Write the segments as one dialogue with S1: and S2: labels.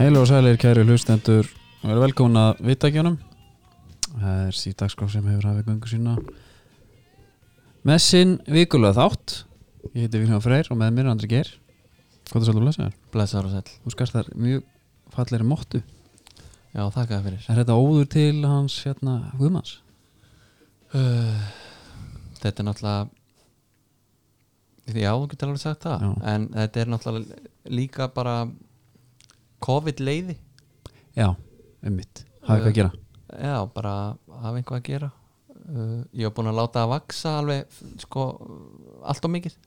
S1: Heil og sælir kæri hlustendur og verið velkomin að vittakjónum Það er síðdagskrá sem hefur hafið göngu sína með sinn vikulega þátt Ég heiti Vilhelm Freyr og með mér er Andri Geir Hvað er svolítið að blessa þér?
S2: Blessaður og sæl
S1: Þú skast þar mjög fallegri móttu
S2: Já, þakka það fyrir
S1: Er þetta óður til hans hérna Guðmanns?
S2: uh, Þetta er náttúrulega Já, þú getur alveg sagt það
S1: Já.
S2: En þetta er náttúrulega líka bara COVID-leiði
S1: Já, um mitt Hafið hvað að gera?
S2: Já, bara hafa einhvað að gera uh, Ég var búin að láta það vaksa alveg sko, allt og mikið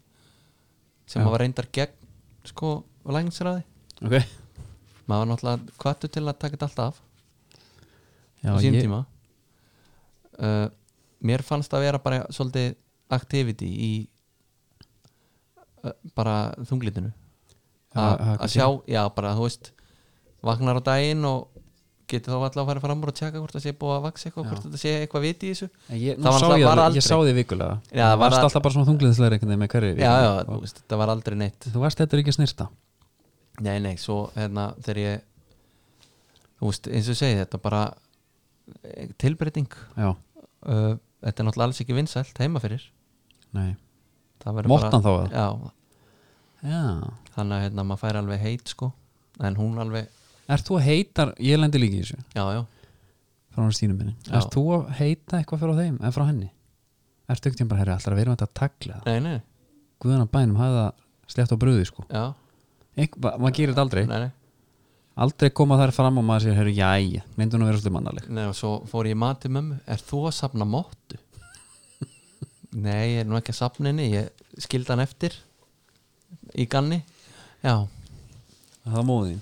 S2: sem
S1: Já.
S2: hafa reyndar gegn sko, lægingsræði
S1: Ok
S2: maður var náttúrulega kvartu til að taka þetta allt af
S1: Já,
S2: á sínum
S1: ég,
S2: tíma uh, mér fannst að vera bara svolítið activity í uh, bara þunglitinu
S1: Já,
S2: A,
S1: það er
S2: að
S1: kannski-
S2: sjá, já bara þú veist vaknar á daginn og getur þá alltaf að fara fram úr og tjaka hvort það sé búið að vaksa eitthvað,
S1: Já.
S2: hvort þetta sé eitthvað vit í þessu
S1: En ég, nú
S2: Það var
S1: sá
S2: alltaf
S1: ég,
S2: bara
S1: að-
S2: aldrei.
S1: ég sá því vikulega
S2: Já, það var
S1: varst
S2: að-
S1: alltaf bara svona þungliðislega einhvern veginn með hverju
S2: já, já, þú veist, þetta var aldrei neitt
S1: Þú varst þetta ekki að snirta
S2: nei, nei, svo hérna þegar ég þú veist, eins og ég segi þetta bara eh, tilbreyting
S1: Já,
S2: uh, þetta er náttúrulega alls ekki vinsælt heima fyrir
S1: nei
S2: Það verður
S1: Móttan þá
S2: bara-
S1: að
S2: já,
S1: Já
S2: þannig að hérna, maður fær alveg heit sko en hún alveg,
S1: Er þú að heitar, ég lendi líka í þessu
S2: já, já
S1: frá hann stínu minni,
S2: Já.
S1: er þú að heita eitthvað frá þeim en frá henni? Ertu ekkert bara herri alltaf að vera með þetta að tagla það?
S2: nei, nei,
S1: Guðan að bænum hafði það slétt á bröði sko
S2: já,
S1: Einhver, ma- maður gerir þetta aldrei,
S2: nei, nei,
S1: aldrei koma þær fram og maður sér herri, jæja, myndu hún að vera svolítið mannaleg
S2: nei og svo fór ég í mat til mömmu er þú að safna móttu? nei, ég er nú ekki að safna henni ég skildi hann eftir í ganni, já
S1: Það var móðin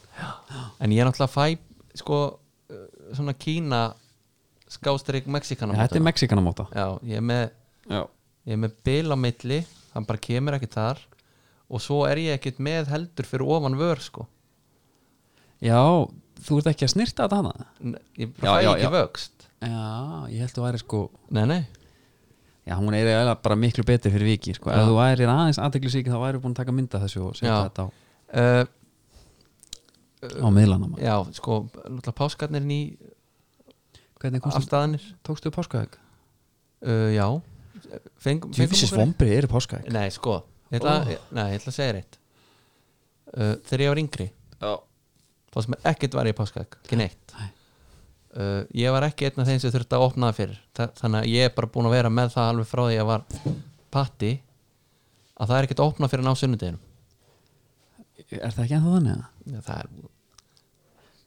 S2: en ég er náttúrulega fæ sko, uh, svona kína skástrík mexikana
S1: Þetta er Mexikanámóta
S2: já, ég er með
S1: Já,
S2: ég er með bil á milli hann bara kemur ekkert þar og svo er ég ekkert með heldur fyrir ofan vör sko
S1: Já þú ert ekki að snirta þetta hana?
S2: N- ég
S1: Já,
S2: bara fæ
S1: já,
S2: ekki
S1: já.
S2: vöxt
S1: Já, ég held þú væri sko
S2: nei, nei,
S1: Já, hún er eiginlega bara miklu betur fyrir viki sko.
S2: Já.
S1: Ef þú væri aðeins aðteglisík þá væri búin að taka mynda þessu og setja
S2: Já.
S1: þetta á,
S2: uh,
S1: á miðlana maður.
S2: já, sko náttúrulega páskarnir ný
S1: Hvernig komstu,
S2: afstæðanir
S1: tókstu páskaðeg?
S2: uh, já, fengum fengum
S1: Djúfisins
S2: okkur-
S1: vombrið eru páskaegg
S2: nei, sko, ég ætla, ég, nei, ég ætla að segja reitt uh, þegar ég var yngri
S1: Já.
S2: þá sem ekkert var ég páskak, ekki neitt
S1: Nei.
S2: uh, ég var ekki einn af þeim sem þurfti að opna það fyrir Þa, þannig að ég er bara búin að vera með það alveg frá því að ég var patti að það er ekkert að opna fyrir ná sunnudeginum
S1: Er það ekki ennþá þannig? eða?
S2: Já, það er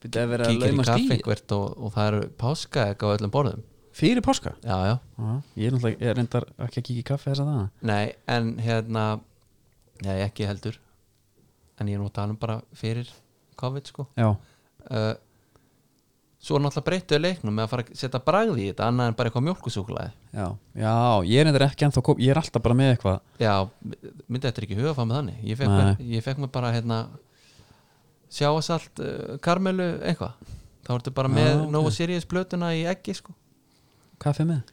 S1: Byrja að vera að
S2: kíkir
S1: lauma
S2: í kaffi
S1: skýi
S2: einhvert og, og það eru páskaegg á öllum borðum
S1: Fyrir páska?
S2: já, já,
S1: Já, ég er náttúrulega, ég er reyndar ekki að kíkja í kaffi þess að það
S2: nei, en hérna nei, ekki heldur en ég er nú að tala um bara fyrir COVID sko
S1: Já,
S2: uh, svo er náttúrulega breyttuðu leiknum með að fara að setja bragði í þetta annað en bara eitthvað mjólkusúklaði
S1: já, já, ég er reyndar ekki ennþá kom, ég er alltaf bara með eitthvað
S2: Já, myndi þetta er ekki hugafa með þannig Ég fekk,
S1: Nei.
S2: mér, ég fekk mér bara hérna, sjáasalt, uh, karmelu, eitthvað Þá ertu bara
S1: Já,
S2: með
S1: ok.
S2: Nova Sirius plötuna í eggi sko
S1: kaffi með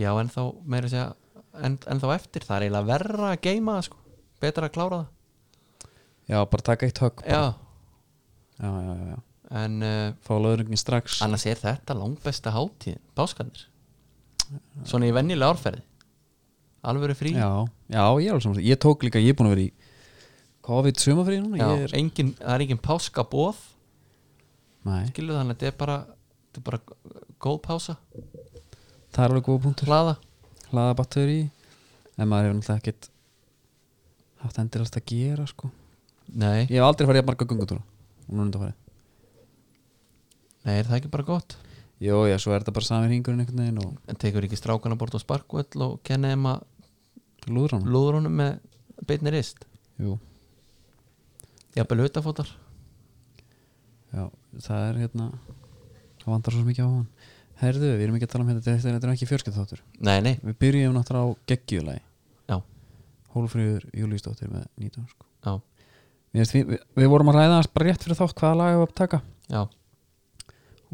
S2: Já, en þá meira að segja en, en þá eftir, það er eiginlega verra að geima það sko Betra að klára það
S1: Já, bara taka eitt högg bara.
S2: Já,
S1: já, já, já, já.
S2: en uh,
S1: Fá löðringin strax
S2: annars er þetta langbesta hátíðin Páskarnir Svona í vennilega árferði Alvöru frí
S1: Já, já, ég er alveg saman Ég tók líka, ég er búin að vera í COVID sumafrið núna
S2: Já,
S1: ég er,
S2: engin, það er engin páskabóð
S1: Nei,
S2: Skilur þannig að þetta er bara, þetta er bara góð pása
S1: það er alveg góð punktur
S2: hlaða
S1: Hlaða batteri En maður hefur náttúrulega ekkit haft endilast að gera sko
S2: nei,
S1: Ég hef aldrei farið að marga gungutúra og núna þetta farið
S2: nei, er það ekki bara gott
S1: Jó, já, svo er þetta bara sami hringurinn einhvern veginn og
S2: en tekur ekki strákana bort á sparkvöll og kenna þeim að
S1: lúður hann
S2: lúður honum með beinni rist
S1: Jú,
S2: jafnvel hutafótar
S1: já, það er hérna það vandar svo mikið á hann Herðu, við erum ekki að tala um þetta, þetta er, þetta er ekki fjörskipt þáttur
S2: nei, nei,
S1: Við byrjum náttúrulega á geggjulagi
S2: já,
S1: Hólfríður Júlíusdóttir með 19 sko.
S2: já,
S1: við, við, við vorum að ræða hans bara rétt fyrir þátt hvaða lag við að taka
S2: já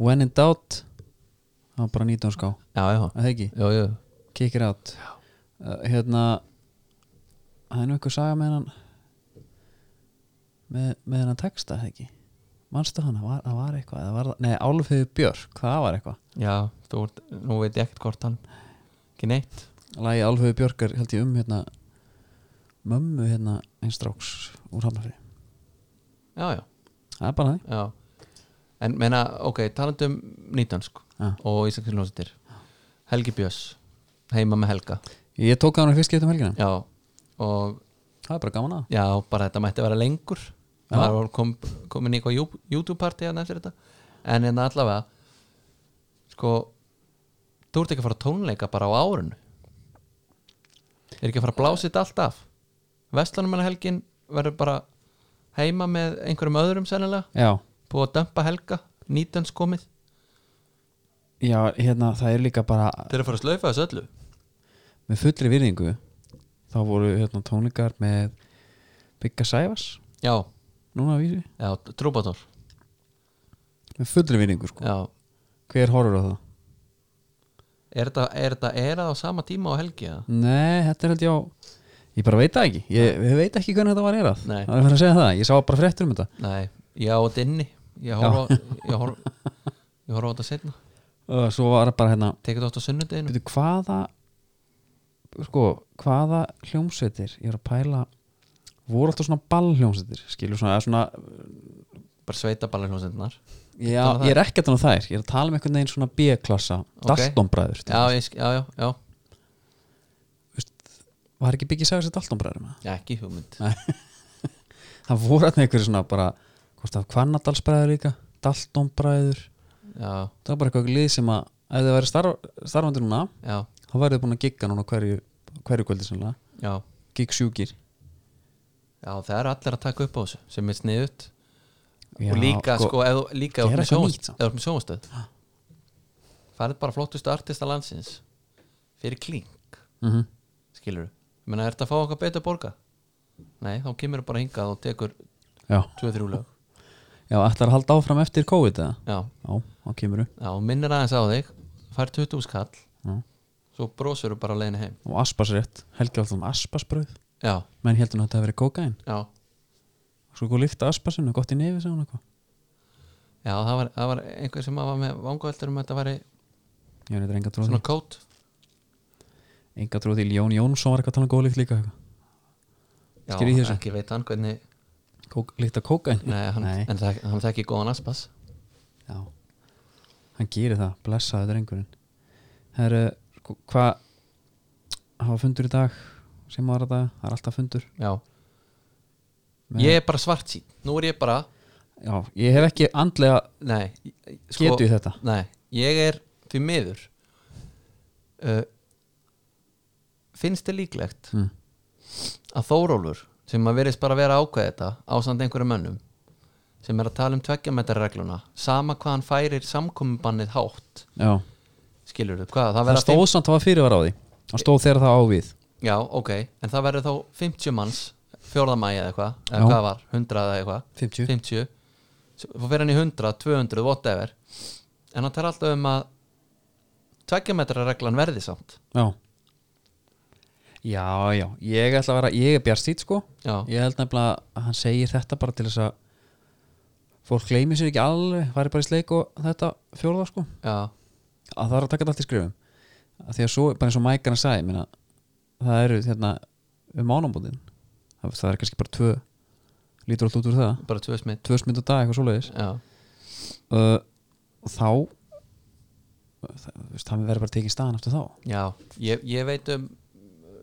S1: When in doubt það var bara 19 ská,
S2: já, já,
S1: að það ekki,
S2: já, já,
S1: kick it out uh, hérna það er nú eitthvað saga með hann með, með hann texta, það ekki manstu hana, var, það var eitthvað eða var, það- nei, Álfiður Björk, það var eitthvað
S2: Já, þú, ert- nú veit ég ekkert hvort hann ekki neitt
S1: Lagi Álfiður Björk er held ég um hérna mömmu hérna einstráks úr Hafnafri
S2: Já, já,
S1: það er bara það
S2: já En meina, ok, talandi um nýtönsk
S1: Já.
S2: og Ísaksinlósitir Helgi Björns, heima með Helga
S1: Ég tók að hann fyrst getum helgina
S2: Já, og
S1: Það er bara gaman að
S2: já, bara þetta mætti vera lengur
S1: Já.
S2: maður var kom, komin í eitthvað Jú- YouTube-party hérna eftir þetta en hérna allavega sko, þú ert ekki að fara á tónleika bara á árun er ekki að fara að blása þetta allt af Vestlunumannahelgin verður bara heima með einhverjum öðrum sennilega,
S1: Já,
S2: búið að dömpa helga nýtans komið,
S1: já hérna, það er líka bara
S2: þeir eru að fara að slaufa þessu öllu
S1: með fullri virðingu þá voru hérna tónleikar með Bigga Sævas
S2: já,
S1: núna að vísi
S2: já, trúbatór
S1: með fullri virðingu sko
S2: já,
S1: Hver horfur á það?
S2: er þetta er þetta er á sama tíma á helgi eða?
S1: Nei, þetta er held ég á Ég bara veit það ekki, ég, ég veit ekki hvernig þetta var erað
S2: Nei.
S1: Það er verið að segja það, ég sá bara fréttur um þetta
S2: Nei, ég á þetta inni Ég horfa á, ég horfa, ég horfa á þetta setna
S1: uh, Svo var bara hérna
S2: Tekið þetta á sunnudeginu
S1: Býtu, hvaða sko, hvaða hljómsveitir ég er að pæla voru alltaf svona ballhljómsveitir skilur svona, eða svona
S2: Bara sveitaballar hljómsendnar
S1: já,
S2: Tala um
S1: ég er ekkert um þær, ég er að tala um einhvern veginn svona B-klassa,
S2: Ok.
S1: okay. Daltonbræður
S2: já, ég sk- já, já, já,
S1: var ekki byggja sæður sér Daltonbræður með
S2: já, ekki hugmynd
S1: það voru alltaf einhverju svona bara hvort það Hvannadalsbræður líka Daltonbræður,
S2: Já,
S1: það var bara eitthvað lið sem að ef þið væri starf, starfandi núna
S2: já,
S1: þá værið þið búin að gigga núna á hverju, hverju kvöldi sannlega,
S2: já
S1: gigg sjúkir
S2: Já, það eru allir að taka upp á þessu sem er sniðut
S1: Já,
S2: og líka,
S1: sko,
S2: sko, eða, líka
S1: gera
S2: eða
S1: eitthvað nýtt samt.
S2: þú ert með sjónastöð farið bara flottustu artista landsins fyrir klink,
S1: mhm.
S2: skilur við menna, ertu að fá okkar betur borga? Nei, þá kemur bara hingað og tekur
S1: já,
S2: 2-3 lög
S1: já, ætlar að halda áfram eftir COVID eða?
S2: Já,
S1: Já, þá kemur þú
S2: Já, og minnir aðeins á þig fær 20 skall
S1: Já.
S2: svo brósur bara á leiðinu heim
S1: Og aspas rétt, Helgi var alltaf um aspasbröð
S2: já,
S1: Menn heldur hann að þetta hafi verið kókain
S2: já,
S1: Svo góð lífta aspasinu, gott í nefi sagði hún eitthvað
S2: já það, var, það var einhver sem var með vangaveldur um að þetta væri
S1: Ég var eitthvað enga trúð
S2: svona
S1: Svona...
S2: kót
S1: Enga trúð til Jón Jónsson var eitthvað að tala um góð líkt líka eitthvað
S2: já,
S1: Skil í þessu?
S2: ekki veit hann hvernig
S1: Kók, Líkt að kókain
S2: nei, hann,
S1: Nei.
S2: en það, hann þekki góðan aspas
S1: Já Hann gerir það, blessaði drengurinn Herru, sko, hvað Hafa fundur í dag sem var þetta, það er alltaf fundur
S2: já,
S1: Nei.
S2: ég er bara svart sín nú er ég bara,
S1: Já, ég hef ekki andlega
S2: nei Sko-
S1: getu í þetta
S2: nei, ég er því miður uh, finnst þið líklegt
S1: mm.
S2: að Þórólfur sem að verðist bara vera að ákveða þetta ásand einhverjum mönnum sem er að tala um tveggjametarregluna sama hvað hann færir samkominbannið hátt
S1: Já,
S2: skilur þau hvað, það
S1: það
S2: verða
S1: stóð samt að það var fyrirvar á því Það stóð þegar það á við
S2: fimm- já, ok, en það verður þá 50 manns fjórðamægi eða eitthvað
S1: Já.
S2: eða hvað var, 100 eða eitthvað
S1: 50
S2: 50, svo fyrir hann í 100, 200, whatever en hann tala alltaf um að tveggjametarreglan verði samt
S1: Já Já, já, ég ætla að vera ég er bjartstýtt sko
S2: já,
S1: ég held nefnilega að hann segir þetta bara til þess að fólk gleymi sér ekki alveg fari bara í sleik og þetta fjórða sko
S2: já,
S1: að það er að taka þetta allt í skrifum að því að svo, bara eins og Mækarna sagði minna, það eru hérna um ánambúðin það, það er kannski bara tvö lítur allt út úr það
S2: bara tvö smitt
S1: tvö smynd og dag, eitthvað svoleiðis
S2: já,
S1: uh, og þá það, þú veist, það verður bara tekið staðan eftir þá
S2: Já, ég, ég veit um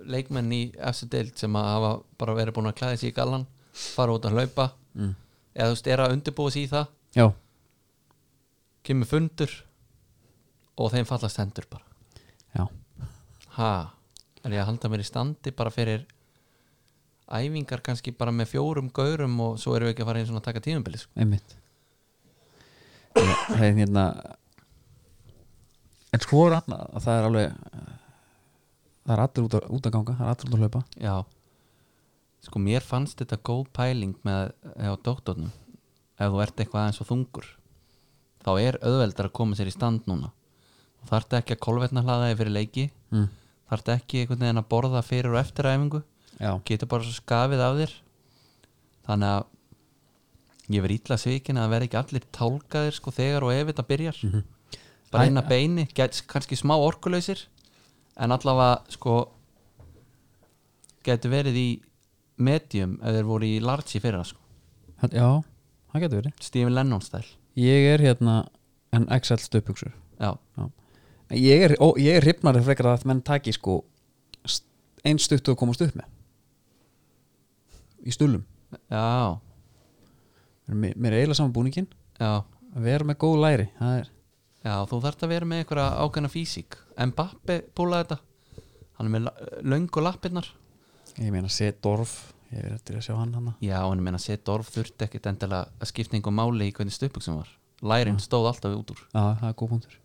S2: leikmenn í efstu deild sem að hafa bara verið búin að klæða sig í gallan fara út að hlaupa
S1: mm.
S2: eða þú veist, er að undirbúa sig í það
S1: Já,
S2: kemur fundur og þeim fallast hendur bara
S1: já,
S2: ha, er ég að halda mér í standi bara fyrir æfingar kannski bara með fjórum gaurum og svo erum við ekki að fara einn svona að taka tímabili sko.
S1: einmitt það er hérna en sko er annað að það er alveg eh, það er allir út að, út að ganga það er allir út að hlaupa
S2: Já Sko, mér fannst þetta góð pæling með á doktornum ef þú ert eitthvað aðeins og þungur þá er auðveldar að koma sér í stand núna og þarf ekki að kolvetna hlaða þig fyrir leiki
S1: mm.
S2: þarf ekki einhvern veginn að borða fyrir og eftir æfingu
S1: já,
S2: getur bara svo skafið af þér þannig að ég verið illa svikin að vera ekki allir tálkaðir sko þegar og ef þetta byrjar bara inn að beini, get, kannski smá orkuleysir en allavega sko getur verið í medium ef þeir voru í large í fyrra sko
S1: Hann- Já, það getur verið
S2: Stephen Lennon stæl
S1: Ég er hérna en XL stöpugsur
S2: já,
S1: Ég er, ó, ég er hrifnari frekar að menn taki sko einstutt og komast upp með í stúlum
S2: já,
S1: mér, mér er eiginlega saman búningin
S2: já,
S1: að vera með góð læri það er,
S2: já þú þarft að vera með einhverja ákveðna físík Mbappe púlaði þetta hann er með la- löngu lappirnar
S1: ég meina Sedorf ég er eftir að sjá hann hann
S2: já, en ég meina sett orf þurfti ekkit endilega að skipta einhver máli í hvernig stöpuksum var lærin stóð alltaf út úr
S1: já, það er góð punktur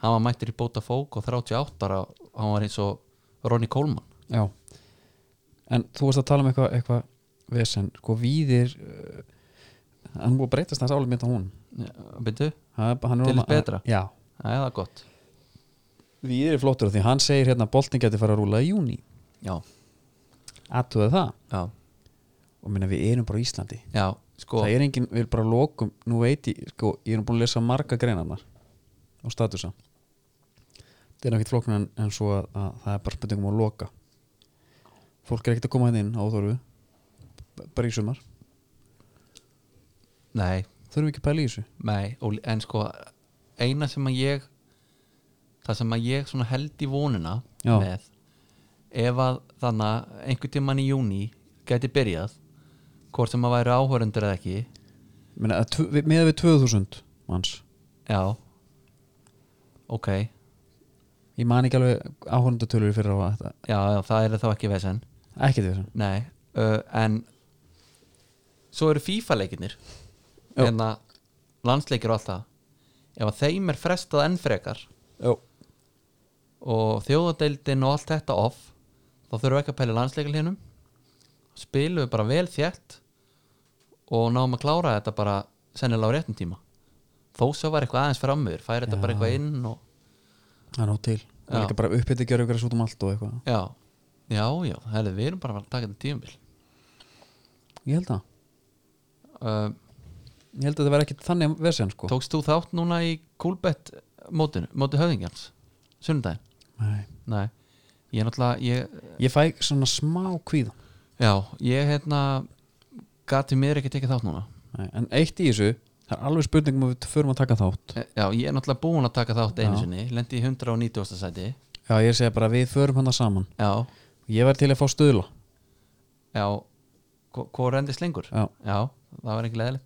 S2: hann var mættur í bóta fók og 38 ára hann var eins og Ronny Coleman
S1: já. en þú varst að tala um eitthvað eitthva vesen, sko víðir uh, hann búið að breytast hans álið mitt á hún
S2: byrju,
S1: hann, er- hann er
S2: Til
S1: orðinn
S2: hins
S1: að-
S2: betra?
S1: já,
S2: það er það gott
S1: víðir er flottur af því hann segir hérna að boltin geti fara að rúla í júni
S2: já,
S1: aðtöðu það
S2: já,
S1: og minna við erum bara á Íslandi
S2: já, sko
S1: það er engin, við erum bara að lokum nú veit ég, sko, ég erum búin að lesa marga greinarnar og statusa það er ekkert flóknar en, en svo að, að það er bara spurningum að loka fólk er ekkert að koma hérna inn á þorfu bara í sumar,
S2: nei,
S1: þurfum við ekki að pæla í þessu
S2: nei, og, en sko eina sem að ég það sem að ég svona held í vonina
S1: Já.
S2: með ef að þannig einhvern tímann í júni gæti byrjað hvort sem að væri áhörundur eða ekki
S1: minna, að, tv- við- miðað við 2000 manns
S2: já ok,
S1: ég man ekki alveg áhörndutölur fyrir á þetta
S2: já, já það er þá ekki vesen
S1: ekki til þessu,
S2: Nei, uh, en svo eru FIFA-leikirnir
S1: Já.
S2: en að landsleikir og allt það ef að þeim er frestað enn frekar
S1: já,
S2: og þjóðadeildin og allt þetta off þá þurfum við ekki að pæla landsleikarlinum spilum við bara vel þjætt og náum að klára þetta bara sennilega á réttum tíma þó svo var eitthvað aðeins framöður færi þetta
S1: Já.
S2: bara eitthvað inn og
S1: það er nóg til það er
S2: Já.
S1: líka bara uppbytti að gera ykkur út um allt og eitthvað
S2: já, já, já, herri, við erum bara að taka þetta tímabil
S1: ég held að,
S2: uh,
S1: ég held að það verði ekki þannig vesen sko
S2: Tókst þú þátt núna í Coolbet mótinu, móti höfðingjans sunnudaginn?
S1: Nei.
S2: Nei, ég náttúrulega ég,
S1: ég fæ svona smá kvíða
S2: já, ég hérna gati mér ekki tekið þátt núna
S1: Nei, en eitt í þessu það er alveg spurningum að við förum að taka þátt
S2: E- Já, ég er náttúrulega búin að taka þátt einu
S1: Já.
S2: sinni lendi í 190. sæti
S1: já ég segi bara við förum hann saman
S2: Já,
S1: ég væri til að fá stöðla
S2: já Hvað rendist lengur?
S1: já.
S2: það var ekki leðilegt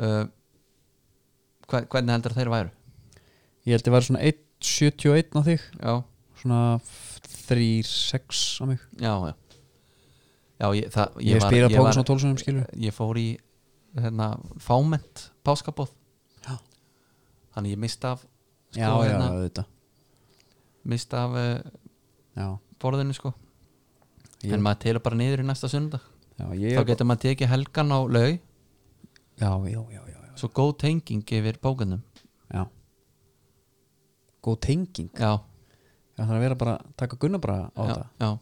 S2: uh, hva- Hvernig heldur þeir væru?
S1: ég held ég væri svona 1.71 á þig
S2: Já,
S1: svona 3.6 á mig
S2: já, já Já, ég, það,
S1: ég, ég
S2: var-
S1: spyrir að prófa
S2: var-
S1: svona 12 sem skilur
S2: ég fór í hérna, fáment páskabóð
S1: Já.
S2: þannig ég mist af sko,
S1: já já
S2: hérna,
S1: auðvitað
S2: mist af uh,
S1: já,
S2: borðinu sko
S1: Ég-
S2: en maður telur bara niður í næsta sundag
S1: já, ég,
S2: þá getur maður tekið helgan á laug
S1: já, já, já, já, já.
S2: svo góð tenging yfir bókunum
S1: já. góð tenging
S2: já,
S1: það þarf að vera bara að taka Gunnar bara á
S2: já,
S1: þetta
S2: já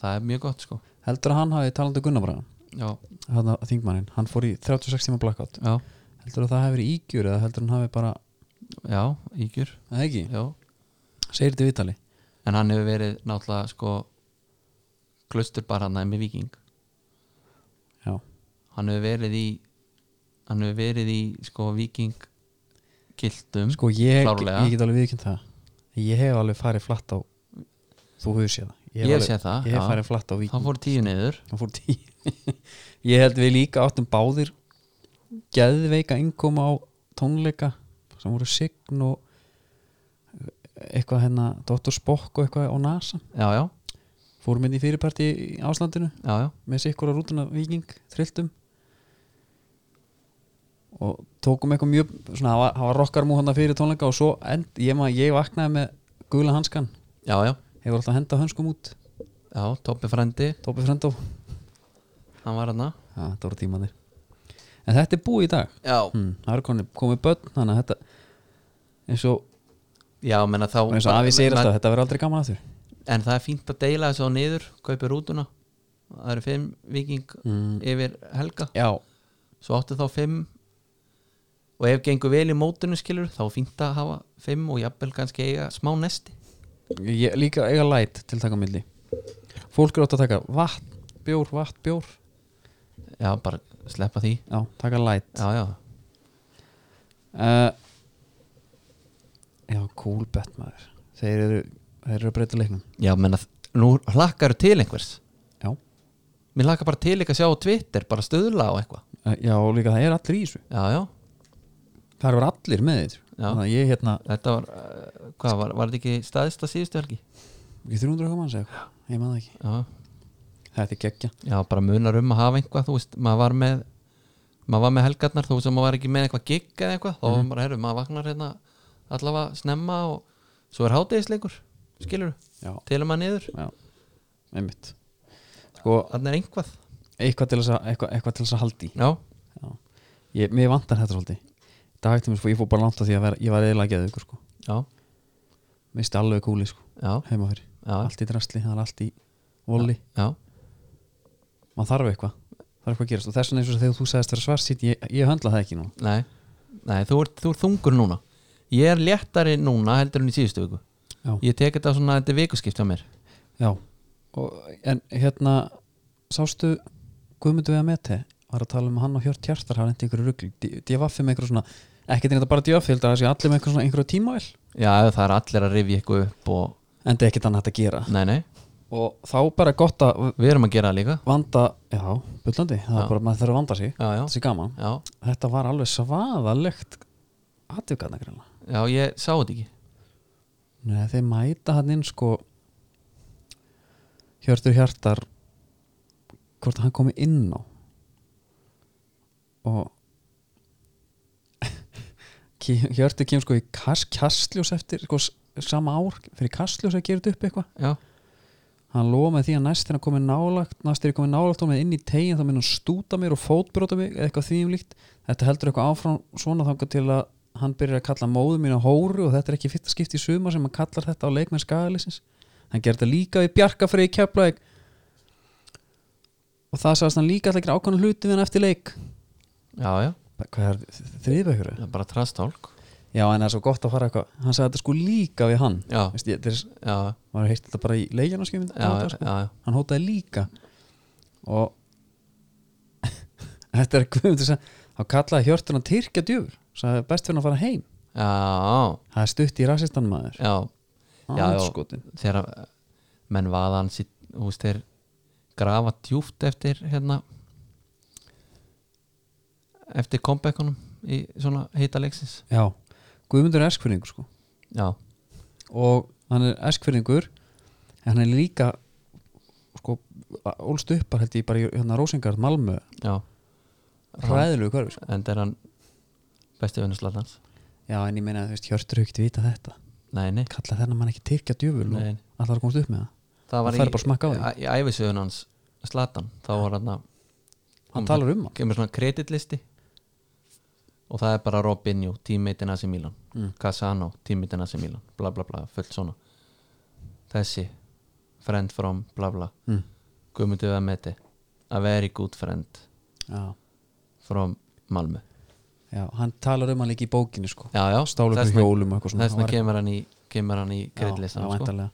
S2: það er mjög gott sko
S1: heldur að hann hafi talandi um Gunnar bara
S2: já,
S1: hann að þingmannin, hann fór í 36 tíma blackout
S2: já,
S1: heldur að það hefur ígjur eða heldur hann hafi bara
S2: já, ígjur
S1: Það ekki,
S2: já.
S1: segir þetta í viðtali
S2: en hann hefur verið náttúrulega sko klustur bara hann með viking
S1: Já,
S2: hann hefur verið í hann hefur verið í sko viking gildum
S1: sko ég,
S2: Klárlega.
S1: ég get alveg viðkjönd það Ég hef alveg farið flatt á Þú hefur séð það
S2: ég,
S1: alveg,
S2: sé það,
S1: Ég hef
S2: já,
S1: farið flatt á
S2: þá
S1: viking
S2: fór tíu niður
S1: Það fór tíu Ég held við líka áttum báðir Geðveika innkoma á tónleika sem voru sign og eitthvað hérna Dr. Spock og eitthvað á NASA
S2: já, já,
S1: fórum inn í fyrirparti í Áslandinu
S2: já, já,
S1: með sikkur á rútuna viking, trilltum og tókum eitthvað mjög svona, það var- það var rockarmú hann fyrir tónleika og svo end, ég, man, ég vaknaði með gula hanskan
S2: já, já,
S1: hefur alltaf hendað hönskum út,
S2: já Toppi frendi,
S1: Tópi Frendó
S2: hann var hann
S1: ja, þetta voru tímanir en þetta er búið í dag
S2: já,
S1: hm, það eru komið, komið börn þannig að þetta eins og,
S2: já, menna þá
S1: eins og afi segir
S2: menn-
S1: alltaf, þetta verður aldrei gaman að þér
S2: en það er fínt að deila þessu á niður kaupi rútuna það eru fimm viking
S1: mm,
S2: yfir helga
S1: já,
S2: svo áttu þá fimm og ef gengur vel í mótinu skilur þá er fínt að hafa fimm og jafnvel kannski eiga smá nesti
S1: ég, Líka eiga light til taka á milli Fólk er átt að taka vatn, bjór, vatn, bjór
S2: já, bara sleppa því
S1: Já, taka light
S2: já, já,
S1: uh, Já, cool bet maður Þeir eru, þeir eru að breyta leiknum
S2: já, menna nú hlakkar til einhvers
S1: Já,
S2: mér hlakkar bara til eitthvað að sjá á Twitter bara stöðla á eitthvað
S1: uh, já og líka það er allir í þessu
S2: já, já,
S1: Það eru allir með þessu
S2: Já.
S1: Þannig að ég hérna,
S2: þetta var uh, hvað, var, var þetta ekki staðista síðustu helgi
S1: ekki 300 eitthvað manns eða eitthvað Ég maður það ekki,
S2: já,
S1: þetta er geggja
S2: já, bara munar um að hafa einhvað þú veist, maður var með maður var með helgarnar, þú veist að maður var ekki með eitthvað gig eða eitthvað, þá var
S1: Mhm.
S2: bara, herru, maður vaknar hérna allavega snemma og svo er hátegisleikur, skilur
S1: Já,
S2: til maður niður,
S1: já, einmitt Sko,
S2: þannig er einhvað
S1: eitthvað til þess að, eitthvað, eitthvað til þess að haldi
S2: já,
S1: Já, ég, mér vantar þetta svolítið Það hægtum mér sko, ég fór bara langt á því að vera, ég var eðla að geða ykkur sko
S2: já,
S1: Misti alveg kúli sko,
S2: já,
S1: heima fyrir
S2: já
S1: Allt í drastli, það er allt í voli
S2: já,
S1: Maður þarf eitthvað, það er eitthvað að gerast Og þess vegna eins og þegar þú sagðist vera svarsýtt, ég, ég höndla það ekki nú
S2: nei, nei þú, ert, þú ert þungur núna ég er léttari núna heldur en í síðustu viku
S1: Já,
S2: ég tek þetta svona, þetta er vikuskipt á mér
S1: já Og, En hérna, sástu Guðmundu við að meti Var að tala um að hann og Hjört Hjartar hafa endi ykkur rugl Divaffi með ykkur svona, ekkert er þetta bara divaffi Það sé allir með ykkur svona einhverju tímavel
S2: já, það er allir að rifja eitthvað upp og,
S1: En þetta er ekkert annað hægt að gera
S2: nei, nei,
S1: Og þá bara gott að
S2: við erum að gera það líka
S1: vanda, já, bullandi það
S2: Já.
S1: er bara, maður þarf að vanda sig,
S2: já, já,
S1: það sé gaman
S2: já
S1: þetta var alveg svaðalegt aðtöfgarna greinlega
S2: Já, ég sá þetta ekki
S1: Nei, þeir mæta hann inn sko Hjörtur Hjartar hvort hann komi inn á og Ki- Hjörtur kemur sko í kas- kastljós eftir sko, s- sama ár fyrir kastljós að gera þetta upp eitthvað
S2: Já,
S1: hann lofa með því að næst þegar hann komið nálagt næst þegar ég komið nálagt og með inn í tegin þá minn hann stúta mér og fótbróta mig eða eitthvað því um líkt þetta heldur eitthvað áfram svona þangar til að hann byrjar að kalla móðu mín á hóru og þetta er ekki fyrsta skipti í suma sem hann kallar þetta á leikmenn skagalisins hann gerði þetta líka í bjarkafrið í keflaðik og það sagðist hann líka alltaf ekki ákvæmna hluti við hann eftir leik
S2: já, já,
S1: hvað er þriðbækur?
S2: það er bara trastálk
S1: Já en það er svo gott að fara eitthvað hann sagði þetta sko líka við hann
S2: Já,
S1: Veist, ég, þess,
S2: já,
S1: maður heilt þetta bara í leikjarnaskjöfum
S2: já, já, já,
S1: hann hótaði líka og þetta er guðmundur sem þá kallaði Hjörtur hann Tyrkja djöfur sagði best fyrir hann að fara heim
S2: já,
S1: það er stutt í rasistan maður
S2: já Já, já.
S1: Andskotin.
S2: Þegar að menn vaða hann sitt, þú veist, þeir grafa djúft eftir hérna eftir comebackunum í svona hita leiksins
S1: já, Guðmundur er eskfyrningur sko.
S2: Já,
S1: og hann er eskfyrningur en hann er líka sko, ólst upp bara held ég bara í hérna Rósingarð Malmö
S2: já,
S1: hræðilegu hverfi sko.
S2: en það er hann besti vinnuslatans
S1: já, en ég meina, þú veist, Hjörtur hefur ekkert vita þetta
S2: Nei, nei,
S1: kalla þennan mann ekki Tyrkja djöfur og
S2: nei
S1: allar að komast upp með það
S2: Það var
S1: Það er bara að smakka á því.
S2: í, í æfisögun hans Slatan, þá var hann að
S1: hann talar um hann
S2: kemur svona kreditlisti og það er bara Robinho, teammatein AC Milan
S1: Mm.
S2: Casano, teammatein AC Milan bla bla bla, fullt svona þessi, friend from bla bla,
S1: mm.
S2: Guðmundur Ameti a very good friend
S1: já
S2: from Malmö
S1: Já, hann talar um hann líka í bókinu sko
S2: já, já,
S1: Stálu ykkur
S2: vegna-
S1: hjólum og eitthvað svona
S2: þess vegna kemur hann í kemur hann í kreditlistan sko.
S1: sko.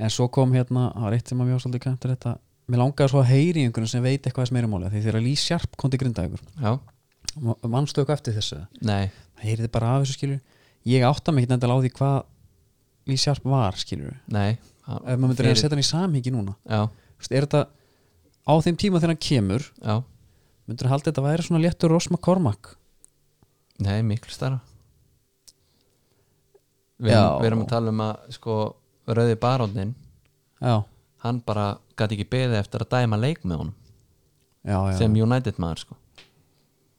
S1: En svo kom hérna, það var eitt sem að mjög svolítið kæmtur þetta Mér langaði svo að heyri í einhvern sem veit eitthvað þess meira máli af Því þegar Lee Sharp kom til grinda ykkur
S2: já,
S1: Manstu eitthvað eftir þessu eða?
S2: nei,
S1: Það heyriði bara af þessu skilur Ég átta mig ekki endilega á því hvað Lee Sharp var skilur
S2: nei hann-
S1: Ef maður myndir
S2: fyrir-
S1: að setja hann í samhengi núna
S2: já,
S1: Þú veist, Er þetta á þeim tíma þegar hann kemur
S2: já,
S1: Myndir að halda þetta væri svona léttur Rosma Kormak
S2: nei, miklu starra við
S1: Já.
S2: erum, við erum að tala um að sko, rauði barónin
S1: Já,
S2: hann bara gæti ekki beðið eftir að dæma leik með honum
S1: já, já,
S2: sem United maður sko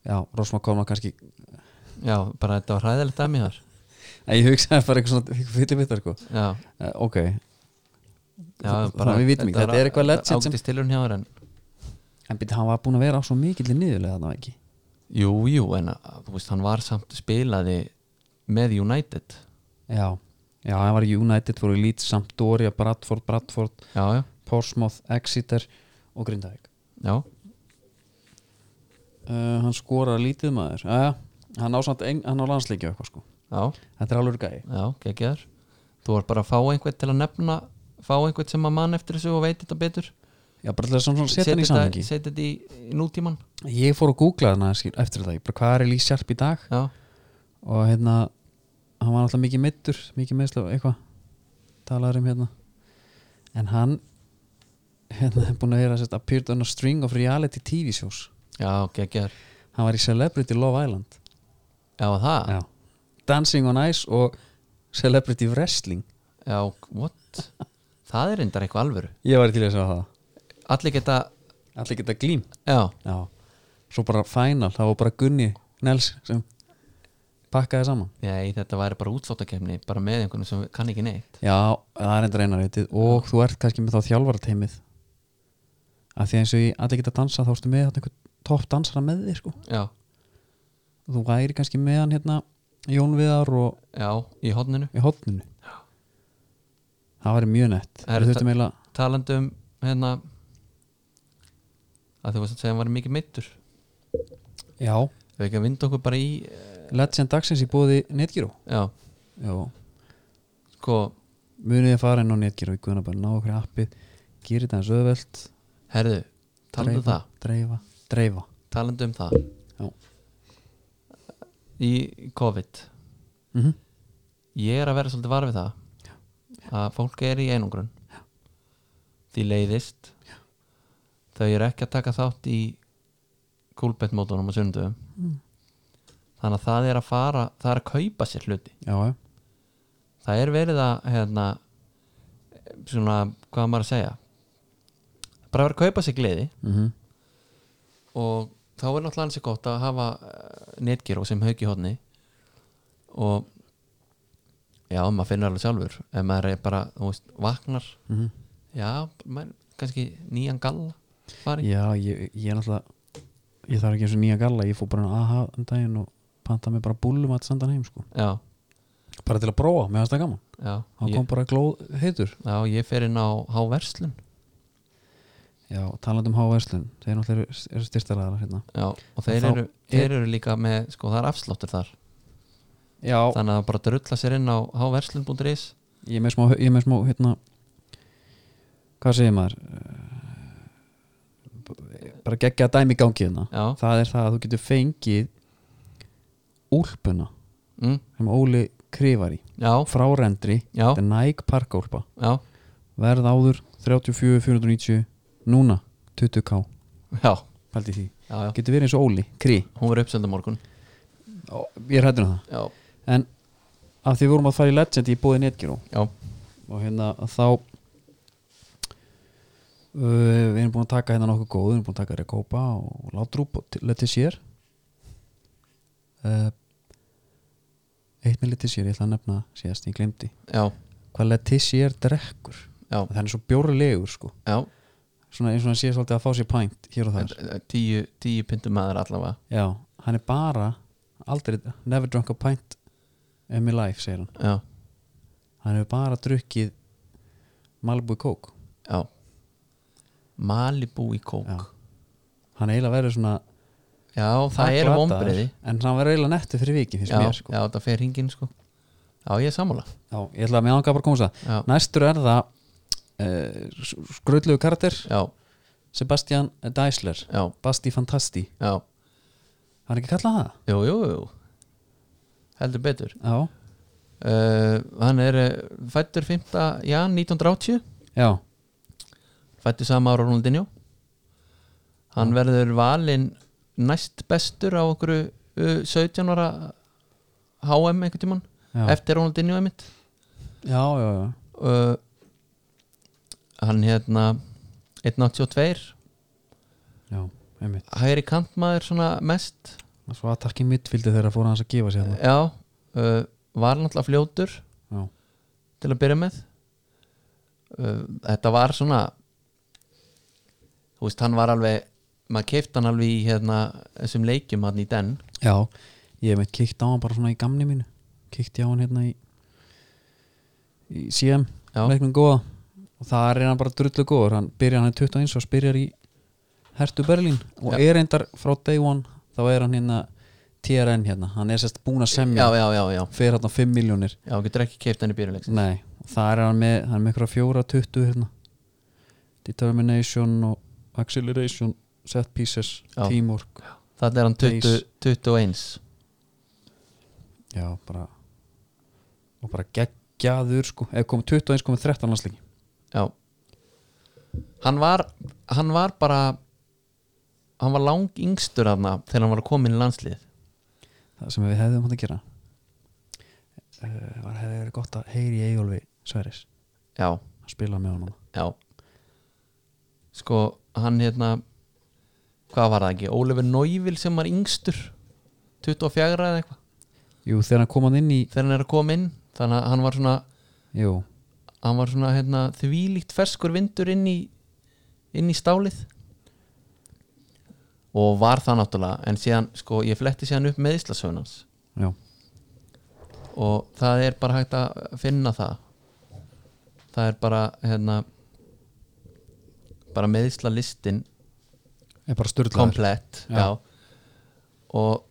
S1: já Rosma Kormak kannski
S2: já, bara þetta var hræðilegt dæmi þar
S1: Nei, ég hugsaði bara eitthvað svona fyrir vittar sko
S2: já,
S1: uh, ok
S2: já
S1: Þannig að við vitum ekki, þetta er eitthvað legend sem-
S2: ágætis tilurinn hjá þér en
S1: en byrja, hann var búin að vera á svo mikill niðurlega þannig ekki
S2: jú, jú, en að, þú veist, hann var samt spilaði með United
S1: já, já, hann var í United voru í lít Sampdoria, Bradford, Bradford
S2: já, já,
S1: Portsmouth, Exeter og Grindavík
S2: já
S1: uh, hann skorar lítið maður Jæja, hann á, samt ein, hann á landsleikja eitthvað sko
S2: Já,
S1: Þetta er alveg gæi
S2: já, geggjaður Þú var bara að fá einhvern til að nefna fá einhvern sem að mann eftir þessu og veit þetta betur
S1: Já, bara til þess að svona setja hann í
S2: þetta-
S1: samhengi
S2: setja þetta í, í nútíman
S1: Ég fór að googla þarna skil- eftir það, ég bara hvað er Lee Sharp í dag
S2: Já,
S1: og hérna hann var alltaf mikið meittur, mikið meðsla eitthvað, talaður um hérna en hann hérna er búin að vera sérst appeared on a string of reality TV shows
S2: já, geggjaður
S1: hann var í Celebrity Love Island
S2: Já, það, já,
S1: Já. Dancing on Ice og Celebrity Wrestling
S2: what Það er reyndar eitthvað alvöru
S1: ég var til þess að það
S2: Allir geta,
S1: allir geta glím
S2: já,
S1: Já. svo bara final, það var bara Gunni Nels sem pakkaði saman
S2: nei, þetta væri bara útsáttakefni bara með einhvern sem kann ekki neitt
S1: Já, það er enda reynar vitið og þú ert kannski með þá þjálfarateymið af því eins og ég allir geta dansa þá ertu með þarna einhvern topp dansara með þig sko.
S2: Já,
S1: þú væri kannski með hann hérna Jón Viðar og
S2: já, í hodninu
S1: í hotninu það væri mjög nett
S2: Er
S1: Við
S2: þetta-
S1: þurftum eiginlega-
S2: talandi um hérna að þú veist að segja hann var mikið meittur
S1: Já,
S2: við ekki að vinda okkur bara í
S1: Legend Dagsins í bóði Netgyro
S2: já,
S1: Já,
S2: sko,
S1: munið að fara inn á Netgyro í Guðnabæri, ná okkur appið gerir þetta eins öðvelt
S2: herðu talandi um
S1: dreifa,
S2: það,
S1: dreifa, dreifa
S2: talandi um það
S1: Já.
S2: í COVID
S1: mm
S2: ég er að vera svolítið varfið það að fólk er í einungrun því leiðist þau eru ekki að taka þátt í kúlbettmótunum og sundum
S1: Mm.
S2: þannig að það er að fara það er að kaupa sér hluti
S1: Já, já,
S2: það er verið að hérna, svona, hvað á maður að segja bara verið að kaupa sér gleði
S1: mm
S2: og þá er náttúrulega hansi gott að hafa netgyró sem hauki hodni og já, maður finnur alveg sjálfur ef maður er bara, þú veist, vaknar
S1: Mhm.
S2: já, maður, kannski nýjan galla fari,
S1: Já, ég, ég er náttúrulega ég þarf ekki eins og nýja galla, ég fór bara að aha um daginn og panta mig bara búlum að senda hann heim sko.
S2: já,
S1: bara til að prófa, mér fannst það gaman
S2: já
S1: hann
S2: ég,
S1: kom bara glóð heitur
S2: já, ég fer inn á háverslun
S1: Já, talandi um háverslun, þeir náttúrulega eru- eru styrstalaðar hérna
S2: já, og þeir,
S1: þá
S2: eru, þeir eru líka með, sko, það er afsláttur þar
S1: Já,
S2: þannig að bara drulla sér inn á háverslun.is
S1: ég er með smá, ég er með smá hérna hvað segir maður Eh, bara geggja að dæmi í gangi hérna
S2: já,
S1: það er það að þú getur fengið úlpuna
S2: mm,
S1: sem Óli krifar í
S2: já,
S1: frá rendri,
S2: já,
S1: þetta er Nike parkúlpa
S2: já,
S1: verð áður 34, 490 núna 20k,
S2: já,
S1: pældi því
S2: já, já.
S1: getur verið eins og Óli, kri
S2: hún verður uppselda morgun
S1: Ó, ég er hættur um það,
S2: já,
S1: en af því við vorum að fara í Legend í bóði Netgyro
S2: já,
S1: og hérna að þá uh, við erum búin að taka hérna nokkuð góð, við erum búin að taka Rekopa og Látrúp og letið sér uh, eitt með letið sér ég ætla að nefna síðast, ég glemdi
S2: já,
S1: hvað letið sér drekkur
S2: já,
S1: það er svo bjórulegur sko
S2: já
S1: svona eins og hann sé svolítið að fá sér pænt hér og þar
S2: tíu, tíu pindum maður allavega
S1: Já, hann er bara aldrei, never drunk a pint in my life, segir hann
S2: já,
S1: hann hefur bara drukkið Malibu Coke
S2: já Malibu í kók
S1: Já.
S2: já,
S1: hann eiginlega verður svona
S2: það, er
S1: glataður,
S2: vombriði
S1: en hann verður eiginlega nettu fyrir vikið finnst
S2: já,
S1: mér sko
S2: já, það fer hringin sko já, ég er sammála
S1: Já, ég ætla að mér ánga bara að komast
S2: já,
S1: það næstur er það uh, skröðlegu karakter
S2: já,
S1: Sebastian Deisler
S2: já,
S1: Basti Fantasti,
S2: já
S1: hann er ekki kallað það
S2: jú, jú, jú heldur betur
S1: Já,
S2: uh, hann er uh, fættur 5. jan 1980
S1: já,
S2: fættu sama ára Ronaldinho hann verður valinn næst bestur á okkur 17 ára HM einhvern tímann
S1: já
S2: eftir Ronaldinho einmitt
S1: Já, já, já,
S2: uh, hann hérna 182
S1: já, einmitt
S2: hægri kantmaður svona mest
S1: Svo að takk í mittfildi þegar fóra hans að gefa sér það
S2: já, uh, var náttúrulega fljótur
S1: Já,
S2: til að byrja með uh, þetta var svona þú veist, hann var alveg maður keift hann alveg í hérna þessum leikjum hann í den
S1: Já, ég hef meitt kíkt á hann bara svona í gamni mínu kíkti á hann hérna í í CM,
S2: Já.
S1: leiknum góða og það er hann bara drullu góður hann byrjar hann er 21 og spyrjar í Hertu Berlín og
S2: Já.
S1: er reyndar frá day one þá er hann hérna TRN hérna, hann er sérst búin að
S2: já,
S1: semja
S2: já, já, já,
S1: fyrir hérna 5 miljónir
S2: já, getur ekki keipt hann í byrjunleik
S1: Nei, og þar er hann með, hann er með ykkur að fjóra tuttu hérna Determination og Acceleration Set Pieces,
S2: Já.
S1: Teamwork
S2: þannig er hann 20, 21
S1: Já, bara og bara geggjaður sko eða kom 21,13 landsleiki
S2: já hann var, hann var bara hann var lang yngstur aðna þegar hann var að koma inn í landslið
S1: það sem við hefðum hann að gera uh, var hefði verið gott að heyri í Eyjólfi Sveris
S2: já,
S1: að spila með honum
S2: já sko, hann hérna hvað var það ekki, Ólefur Nóivil sem var yngstur 24 eða eitthvað
S1: Jú, þegar hann kom hann inn í
S2: þegar hann er að koma inn þannig að hann var svona,
S1: Jú,
S2: hann var svona hérna, þvílíkt ferskur vindur inn í inn í stálið og var það náttúrulega en síðan, sko, ég fletti síðan upp með Íslasöfunans
S1: já,
S2: og það er bara hægt að finna það það er bara hérna bara meðisla listin
S1: er bara styrlaður
S2: komplett
S1: Já.
S2: já. og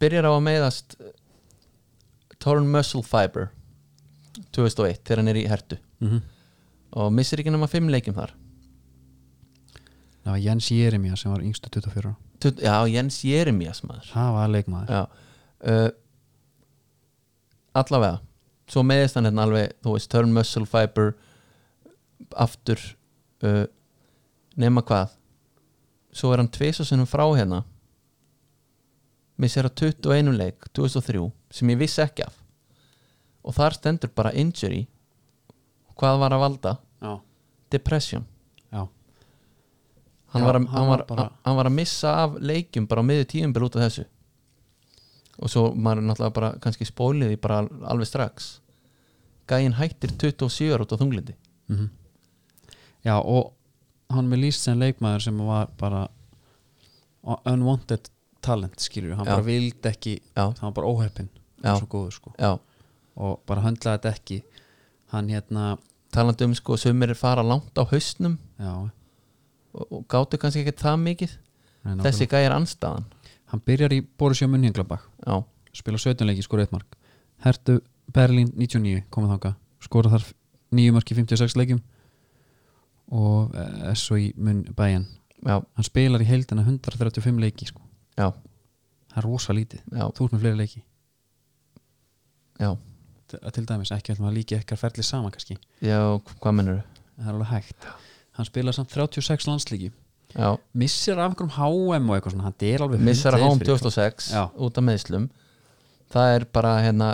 S2: byrjar á að meðast Torn Muscle Fiber 2001 þegar hann er í hertu
S1: mm
S2: og missir ekki nema fimm leikjum þar
S1: Það var Jens Jeremia sem var yngstu 24 ára.
S2: Tut- já, Jens Jeremias maður
S1: Það var leikmaður
S2: já uh, allavega svo meðist hann hérna alveg þú veist, Torn Muscle Fiber aftur uh, nema hvað svo er hann tvisasunum frá hérna missir að 21 leik 2003 sem ég vissi ekki af og þar stendur bara injury hvað var að valda
S1: Já,
S2: depression
S1: já,
S2: hann,
S1: Já,
S2: var, að,
S1: hann
S2: hann, var,
S1: var bara-
S2: hann var að missa af leikjum bara á miður tíumbil út af þessu og svo maður er náttúrulega bara kannski spólið því bara al- alveg strax gæinn hættir 27 ára út á þunglindi
S1: mhm. já og hann með líst sem leikmaður sem var bara unwanted talent skilur hann
S2: Já.
S1: bara vildi ekki,
S2: Já.
S1: hann var bara óheppin
S2: Já.
S1: svo góður sko
S2: já,
S1: og bara höndlaði þetta ekki hann hérna,
S2: talandi um sko sumir fara langt á hausnum
S1: já
S2: og, og gátu kannski ekki það mikið
S1: hann,
S2: þessi gæi er anstaðan
S1: hann byrjar í Borussia Mönchengladbach
S2: já,
S1: spila 17 leiki, skora 1 mark Hertu Berlín 99, komið þanga skora þar 9 mark í 56 leikum og eh, SOI mun bæjan
S2: já,
S1: hann spilar í heildina 135 leiki sko.
S2: já,
S1: það er rosa lítið,
S2: já,
S1: þú ert með fleiri leiki
S2: já,
S1: Til- til dæmis, ekki ætlum að líka ekkert ferli saman kannski,
S2: já hvað mennur
S1: það er alveg hægt hann spilar samt 36 landslíki
S2: já,
S1: missir af einhverjum HM og eitthvað svona, hann er alveg
S2: missar að
S1: hundleiður
S2: hóm
S1: fyrir-
S2: 2006
S1: Já.
S2: út af meðslum það er bara hérna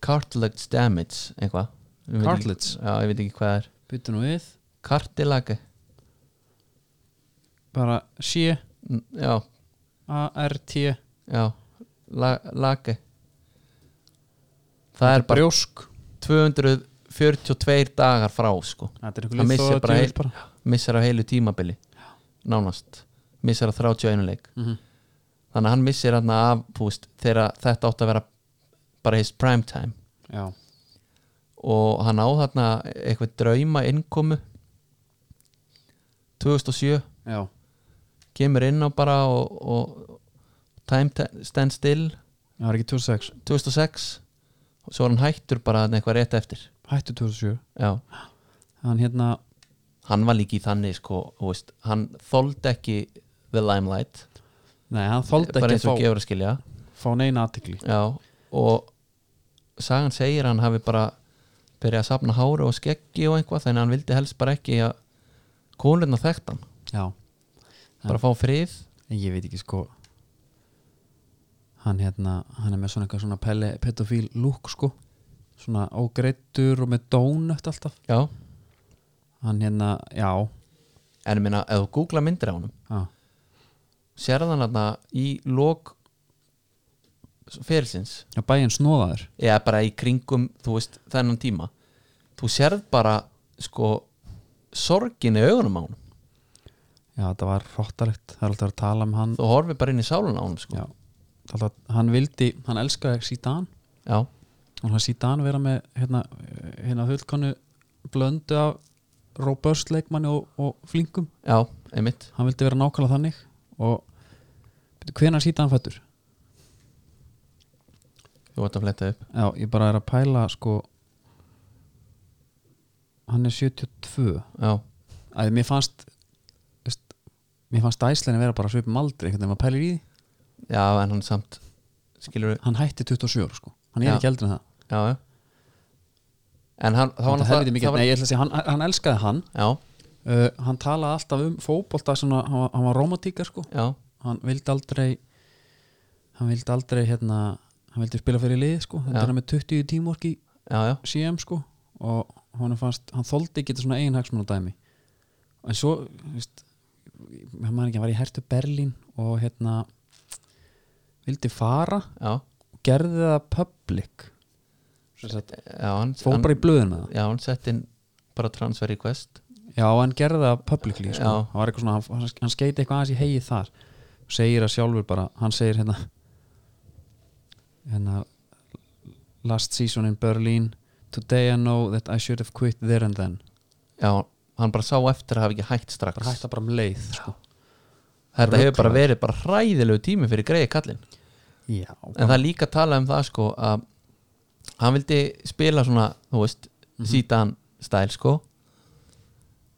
S2: cartilage damage eitthvað Ég veit ekki-
S1: Cartilage?
S2: já, ég veit ekki hvað það er
S1: Bíddu nú við,
S2: cartilage
S1: bara C
S2: N- já,
S1: A R T
S2: já, La, lage það er bara
S1: brjósk
S2: 242 dagar frá sko
S1: það er
S2: Hann
S1: einhver
S2: missir bara
S1: djöfull
S2: heil- missar af heilu tímabili nánast, missar af 31 leik
S1: Mhm.
S2: þannig að hann missir hann af þú veist, þegar þetta átt að vera bara his prime time
S1: já,
S2: og hann á þarna eitthvað drauma innkomu 2007
S1: já,
S2: kemur inn á bara og, og time t- stand still
S1: það var ekki 2006
S2: 2006 og svo er hann hættur bara þarna eitthvað rétt eftir
S1: hættu 2007
S2: já,
S1: hann hérna,
S2: hann var líki í þannig sko, þú veist, hann þoldi ekki the limelight
S1: nei, hann þoldi
S2: bara
S1: ekki
S2: eins og
S1: að fá,
S2: gefur að skilja
S1: fá neina aðtikli
S2: já, og sagan segir að hann hafi bara byrjað að sapna hári og skeggi og einhvað þannig að hann vildi helst bara ekki að konurna þekkt hann
S1: já,
S2: bara fá frið
S1: en ég veit ekki sko hann hérna hann er með svona eitthvað svona pelle, pedofíl lúk sko, svona ógreittur og með dónött alltaf
S2: já.
S1: hann hérna, já,
S2: en ég meina, ef þú googla myndir á honum
S1: já
S2: sérðan hann þarna í lok ferilsins
S1: Já, bæinn snóðaður
S2: eða bara í kringum, þú veist, þennan tíma þú sérð bara sko sorgin í augunum á honum
S1: Já, þetta var hróttalegt, það er alltaf að tala um hann
S2: þú horfir bara inn í sálun á honum sko
S1: Já, Það er alltaf, hann vildi, hann elskaði Sítan
S2: já,
S1: og hann Sítan vera með hérna, hérna fullkonu blöndu af robust leikmanni og, og flinkum
S2: já einmitt
S1: hann vildi vera nákvæmlega þannig og hvenær sýta hann fættur?
S2: Þú ert að fletta upp
S1: Já, ég bara er að pæla sko hann er 72
S2: Já,
S1: að mér fannst veist, mér fannst æslinni vera bara svipum aldri einhvern veginn maður pælir í því,
S2: já en hann samt Skilur
S1: hann hætti 27 ára, sko, hann er
S2: Já.
S1: ekki eldri en það
S2: já, já En hann, það var
S1: Þetta helviti
S2: náttúrulega-
S1: mikið,
S2: það var-
S1: nei ég ætla að segja hann, hann elskaði hann,
S2: Já,
S1: uh, hann talaði alltaf um fótbolta svona, hann, var- hann var romantíkar sko
S2: já,
S1: hann vildi aldrei hann vildi aldrei hérna hann vildi spila fyrir lið sko,
S2: Já.
S1: þetta er með 20 tímork í
S2: já, já
S1: CM sko og honum fannst, hann þoldi ekki þetta svona eigin hagsmun dæmi en svo, þú veist hann maður ekki, hann var í hertu Berlín og hérna vildi fara
S2: Já,
S1: og gerði það public Sem sagt,
S2: já, hann,
S1: fór
S2: hann
S1: bara í blöðin með það
S2: Já, hann sett inn bara transfer request
S1: já, hann gerði það publicly sko.
S2: Já.
S1: hann, var eitthvað svona, hann, hann skeiti eitthvað aðeins í hegi þar segir að sjálfur bara, hann segir hérna hérna last season in Berlin today I know that I should have quit there and then
S2: Já, hann bara sá eftir að hafa ekki hægt strax
S1: bara hætta bara um leið sko.
S2: Þetta hefur bara
S1: Ruglaður.
S2: verið bara hræðilegu tími fyrir greiði kallinn
S1: já,
S2: En það er líka að tala um það sko að hann vildi spila svona, þú veist, mm
S1: Mhm.
S2: sítan stæl sko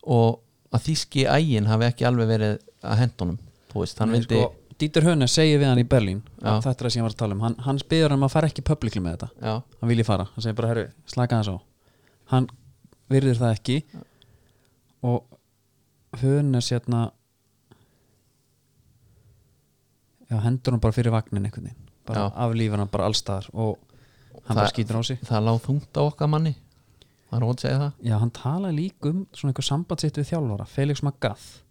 S2: og að þíski ægin hafi ekki alveg verið að hendunum, þú veist, hann
S1: Nei,
S2: vildi
S1: sko, Dieter Hönes segir við hann í Berlín
S2: Já.
S1: þetta er það sem ég var að tala um, hann, hann spyrir um að fara ekki publicly með þetta,
S2: Já,
S1: hann vilji fara hann segir bara, herru, slaka hans á hann virðir það ekki og Hönes hérna já, hendur hann bara fyrir vagnin einhvern veginn, bara
S2: Já.
S1: aflífur hann bara allstaðar og hann
S2: Það-
S1: bara skýtur á sig
S2: það lág þungt á okkar manni Það er hún segja það
S1: já, hann talaði líka um svona einhver samband sitt við þjálfara, Felix Magath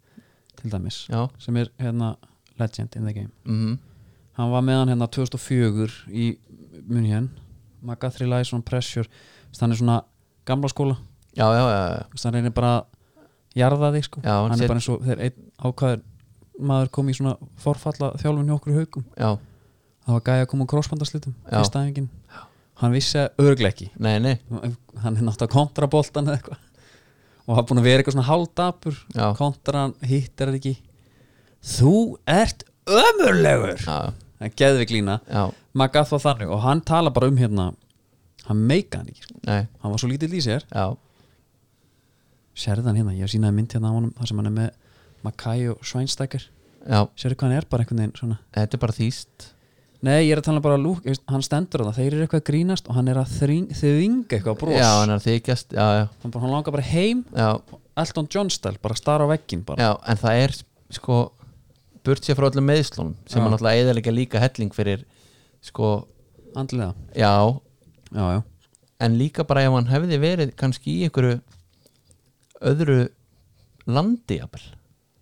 S1: til dæmis,
S2: Já,
S1: sem er hérna legend in the game
S2: mm
S1: hann var með hann hérna 2004 í Munchen Magathri Læsson Pressure Þess, hann er svona gamla skóla
S2: já, já, já, já.
S1: Þess, hann reynir bara að jarða þig sko.
S2: Já, hann
S1: hann
S2: set-
S1: er bara eins og þegar einn ákvæður maður kom í svona forfalla þjálfun hjá okkur í haugum
S2: já.
S1: það var gæja að koma úr krossbandaslitum
S2: Já.
S1: fyrsta æfingin hann vissi að örglega ekki
S2: Nei, nei,
S1: hann er náttúrulega kontraboltan eða eitthvað og hafa búin að vera eitthvað svona hálfdapur
S2: já,
S1: kontran hittir það ekki þú ert ömurlegur
S2: já,
S1: hann geði við glína
S2: já,
S1: Magath var þannig og hann tala bara um hérna hann meika hann ekki, sko.
S2: nei,
S1: hann var svo lítill í sér
S2: já
S1: sérði hann hérna, ég sínaði mynd hérna á honum þar sem hann er með Makai og Sveinstækir
S2: Já,
S1: sérðu hvað hann er bara einhvern veginn svona
S2: þetta er bara þýst
S1: nei, ég er að tala um bara lúk, veist, hann stendur það þeir eru eitthvað að grínast og hann er að þring, þvinga eitthvað bros,
S2: Já,
S1: hann,
S2: hann er að þykjast, já, já,
S1: bara, hann langar bara heim
S2: já
S1: Elton John style, bara star á veggin bara.
S2: Já, en það er sko burt sér frá öllum meðslunum sem
S1: Já.
S2: er náttúrulega eðalega líka helling fyrir sko,
S1: andlega,
S2: já
S1: já, já
S2: en líka bara ef hann hefði verið kannski í einhverju öðru landi jafnvel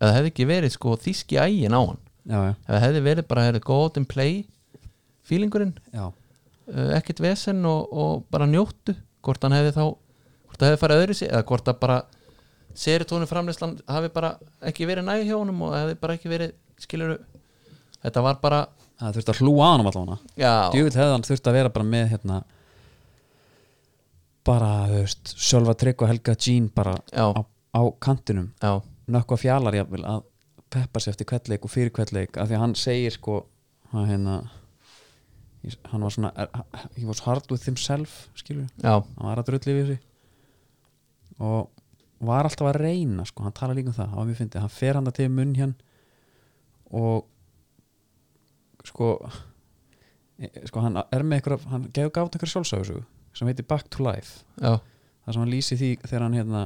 S2: eða hefði ekki verið sko þíski ægin á hann
S1: já, já,
S2: ef það hefði verið bara hefði go out and play feelingurinn,
S1: já,
S2: uh, ekkert vesen og, og bara njóttu hvort hann hefði þá, hvort það hefði farið öðru sig eða hvort það bara seritónu framleyslan hafi bara ekki verið næg hjá honum og hefði bara ekki verið skilur þetta var bara
S1: það þurfti að hlúa að hann allavega
S2: já,
S1: djúvill hefði hann þurft að vera bara með hérna bara, þú veist, Sölva Trygg og Helga Jean bara
S2: já,
S1: á, á kantinum
S2: já,
S1: nökkva fjalar jafnvel að peppa sér eftir kveldleik og fyrir kveldleik af því að hann segir sko hann, hérna, ég- hann var svona he was hard with himself skilur,
S2: já,
S1: hann var að drulli við sig og var alltaf að reyna sko, hann tala líka um það, hann var mjög fyndið hann fer hann það til munn hér og sko e- sko hann er með einhverja hann gefur gátt einhverja sjálfsögusögu sem heitir Back to Life
S2: já,
S1: það sem hann lýsi því þegar hann hérna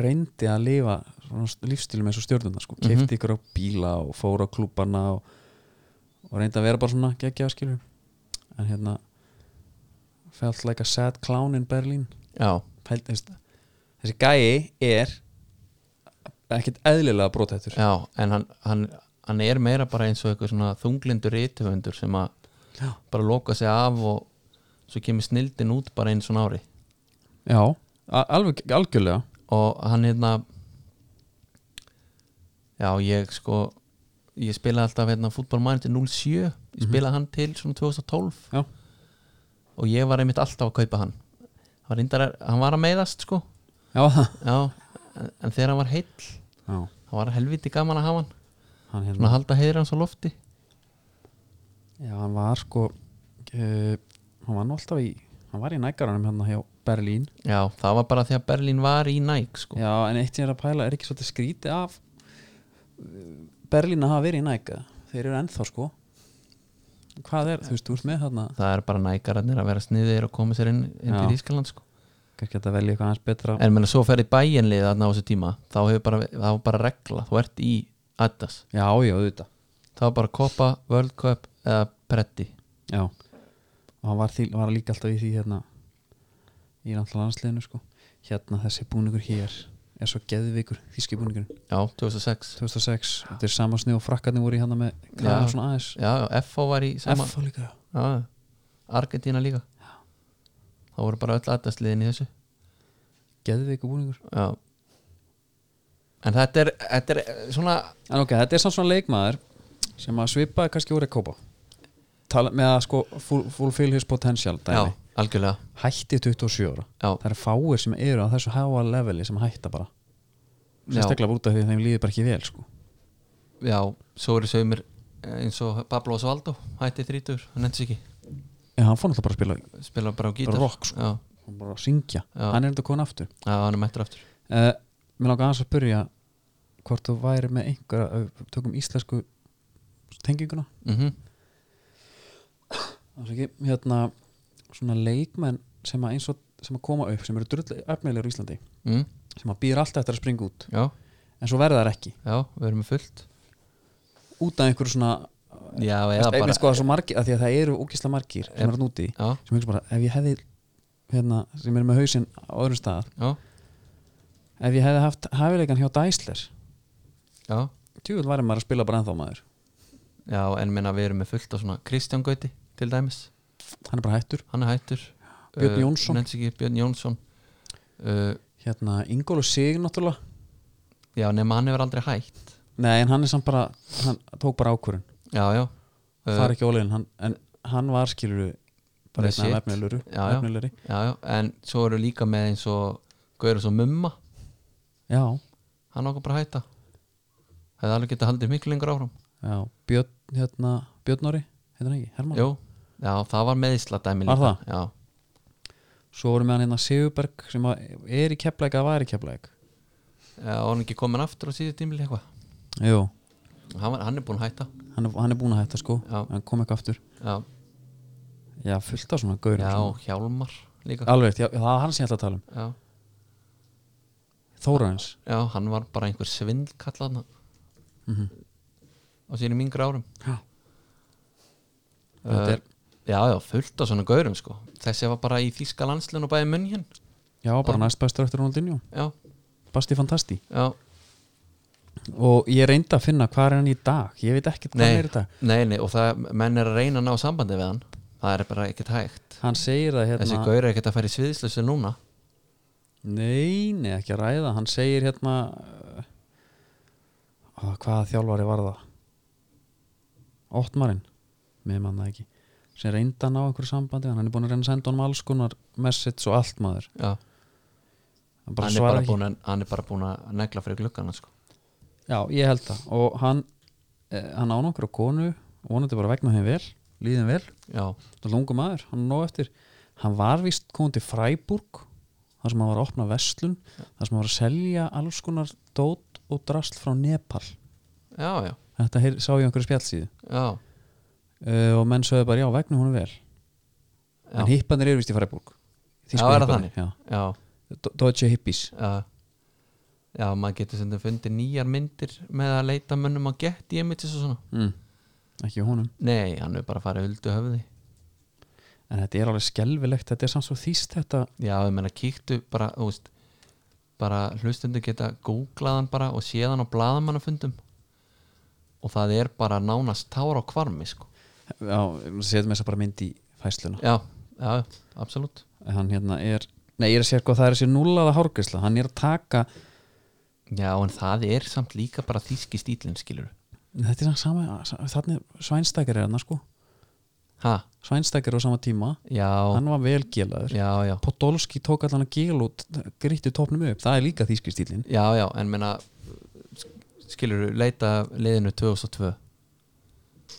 S1: reyndi að lifa svona st- lífstílum eins og stjórnuna sko, keipti
S2: Mhm.
S1: ykkur á bíla og fór á klúbana og, og reyndi að vera bara svona geggja skilur en hérna felt like a sad clown in Berlin
S2: já,
S1: Pælt, þessi, þessi gæi er ekkert eðlilega brotættur
S2: já en hann, hann, hann er meira bara eins og eitthvað svona þunglindur rithöfundur sem að
S1: Já.
S2: bara loka sig af og svo kemur snildin út bara eins og nári
S1: já a- alveg, algjörlega
S2: og hann hérna já ég sko ég spilaði alltaf hérna fútbolmænti 07 ég spilaði hann til svona 2012
S1: Mhm. Já.
S2: og ég var einmitt alltaf að kaupa hann hann var, indar, hann var að meiðast sko
S1: já, það-
S2: já, en, en þegar hann var heill
S1: já.
S2: hann var helviti gaman að hafa hann
S1: Hann,
S2: svona
S1: hérna,
S2: halda heiðir hans á lofti
S1: Já, hann var sko uh, hann var nú alltaf í hann var í nægaranum hérna hjá Berlín
S2: Já, það var bara því að Berlín var í Nike sko.
S1: Já, en eitt sem ég er að pæla er ekki svolítið skrítið af eh, Berlín að hafa verið í næga þeir eru ennþá sko Hvað er, þú veist, þú ert með þarna
S2: Það er bara nækararnir að vera sniðir og koma sér inn, inn
S1: Já.
S2: til Ískaland sko.
S1: kannski að velja eitthvað aðeins betra
S2: En menna, svo ferði bæjanlið að ná þessu tíma þá hefur bara, þá var bara regla þú ert í Adidas,
S1: Já, já, auðvitað
S2: þá var bara Copa, World Cup eða Pretti
S1: Já, og hann var, því, var líka alltaf í því hérna í náttúrulega landsliðinu sko hérna þessi búningur hér er svo geðvikur þíski búningur
S2: Já, 2006
S1: 2006, þetta er sama snið og frakkarnir voru í hérna með
S2: Já.
S1: græða svona aðeins
S2: Já, já, FO var í sama
S1: F líka
S2: Já, já. Argentína líka þá voru bara öll Adidas liðin í þessu
S1: geðviku búningur
S2: Já En þetta er, þetta er eh, svona
S1: en ok, þetta er samt svona leikmaður sem að svipaði kannski úr að kópa Tala, með að sko full- fulfill his potential
S2: Já,
S1: dæmi.
S2: algjörlega
S1: hætti 27 ára
S2: Já,
S1: það eru fáir sem eru á þessu háa leveli sem hætta bara
S2: Já.
S1: sérstaklega bara út af því að þeim líður bara ekki vel sko.
S2: já svo eru sögumir eins og Pablo Osvaldo hætti þrítur, hann endur sig ekki
S1: en hann fór náttúrulega bara að spila
S2: spila bara á gítar
S1: Rock, sko.
S2: já,
S1: hann bara að syngja,
S2: Já.
S1: hann er enda komin aftur
S2: já, hann er mættur aftur
S1: uh, mér langar aðeins að byrja hvort þú væri með einhver uh, tökum íslensku tenginguna
S2: mm
S1: Afsaki, hérna, svona leikmenn sem að eins og sem að koma upp, sem eru drull öfnilegur í Íslandi
S2: mm,
S1: sem að býr alltaf eftir að springa út
S2: Já,
S1: en svo verða þær ekki,
S2: já, við erum með fullt
S1: út af einhverju svona
S2: Já, eða
S1: einmitt
S2: bara
S1: sko að, svo margir, að því að það eru ógisla margir sem eru núti,
S2: Já,
S1: sem hugsa bara ef ég hefði, hérna, sem eru með hausinn á öðrum stað,
S2: já,
S1: ef ég hefði haft hæfileikan hjá Dæsler
S2: já
S1: tjúvel væri maður að spila bara ennþá maður
S2: Já, en minna við erum með fullt á svona Kristján Gauti til dæmis,
S1: hann er bara hættur,
S2: hann er hættur
S1: Björn
S2: Uh,
S1: Jónsson.
S2: nefnst ekki, Björn Jónsson uh,
S1: hérna, Ingólu Sig náttúrulega,
S2: Já, nema hann hefur aldrei hætt
S1: nei en hann er samt bara hann tók bara ákvörun,
S2: Já, já Eh,
S1: uh, far ekki ólegin hann, en hann var skilur bara
S2: The
S1: einn af
S2: shit.
S1: efnileguru
S2: Já, já.
S1: efnilegri.
S2: Já, já, en svo eru líka með eins og Gauður svo mumma,
S1: já,
S2: hann ákvað bara að hætta hefði alveg getað haldið miklu lengur áfram
S1: já, Björn hérna, Björn Nóri, heitir hann ekki, Hermann
S2: Jú, já, það var meðisla dæmi
S1: Var
S2: líka Já,
S1: svo vorum við hann hérna Sigurberg sem að er í keflæk að var í keflæk
S2: já og hann ekki komin aftur á síðu tímil eitthvað
S1: jú,
S2: hann, var- hann er búin að hætta
S1: hann, er- hann er búin að hætta sko
S2: Já.
S1: hann kom ekki aftur,
S2: Já,
S1: já, fullt af svona gaur
S2: já og Hjálmar líka
S1: alveg, rétt, já, það var hann sem ég ætla að tala um
S2: Já,
S1: Þóraðins,
S2: já hann var bara einhver svindlkallaðna
S1: mm
S2: á sínum yngri árum
S1: já þetta
S2: Eh,
S1: er,
S2: Já, já, fullt á svona gaurum sko Þessi var bara í Þíska landslun og bæði munn hér
S1: já, bara næst bestur eftir Ronaldinho
S2: Já,
S1: Basti Fantasti
S2: já,
S1: og ég reyndi að finna hvað er hann í dag ég veit ekkert hvað
S2: Nei.
S1: hann er í dag
S2: nei, nei, og það, menn er að reyna að ná sambandi við hann Það er bara ekkert hægt
S1: hann segir að
S2: Þessi
S1: hérna
S2: gaur er ekkert að fara í sviðslössu núna
S1: nei, nei, ekki að ræða hann segir hérna uh, hvaða þjálfari var það Óttmarinn með mann það ekki sem reyndi að ná einhverju sambandi hann er búin að reyna að senda honum alls konar message og allt maður
S2: Já,
S1: hann bara
S2: hann er
S1: svarar
S2: bara,
S1: ekki
S2: búin, að- hann er bara búin að negla fyrir gluggan sko.
S1: já, ég held það og hann, eh, hann án okkur á konu vonandi bara vegna þeim vel líðum vel
S2: Já,
S1: Það er lungu maður, hann er nóg eftir hann var vist komin til Fræburg þar sem hann var að opna verslun þar sem hann var að selja alls konar dót og drasl frá Nepal
S2: já, já,
S1: þetta heyr, sá ég á einhverju spjallsíðu
S2: já,
S1: uh, og menn sögðu bara já, vegna hún er vel en
S2: já,
S1: hippanir eru vist í Fræburg Þýsku
S2: Já, er það
S1: hipparnir, já.
S2: já,
S1: Do- Deutsche Hippies
S2: já Já, maður getur sem fundið nýjar myndir með að leita mönnum á gett í emitis og svona
S1: mm. ekki hjá honum
S2: Nei, hann er bara að fara huldu höfði
S1: en þetta er alveg skelfilegt, þetta er samt svo þýst þetta
S2: Já, ég meina, kíktu bara, þú veist bara hlustundu geta googlaðan bara og séðan á blaðamannafundum og það er bara nánast tár á kvarmi, sko
S1: já, setjum þess að bara mynd í fæsluna
S2: Já, já, absolutt
S1: hann hérna er, nei ég er að sér hvað það er þessi núlaða hárgæsla, hann er að taka
S2: Já, en það er samt líka bara þýski stílinn, skilur
S1: Þetta er sama, þannig svænstækir er hann sko
S2: Ha,
S1: Svænstækir á sama tíma,
S2: já,
S1: hann var vel gelaður
S2: já, já
S1: Podolski tók allan að gela út grítti topnum upp, það er líka þýski stílin
S2: Já, já, en meina skilur leita liðinu 2002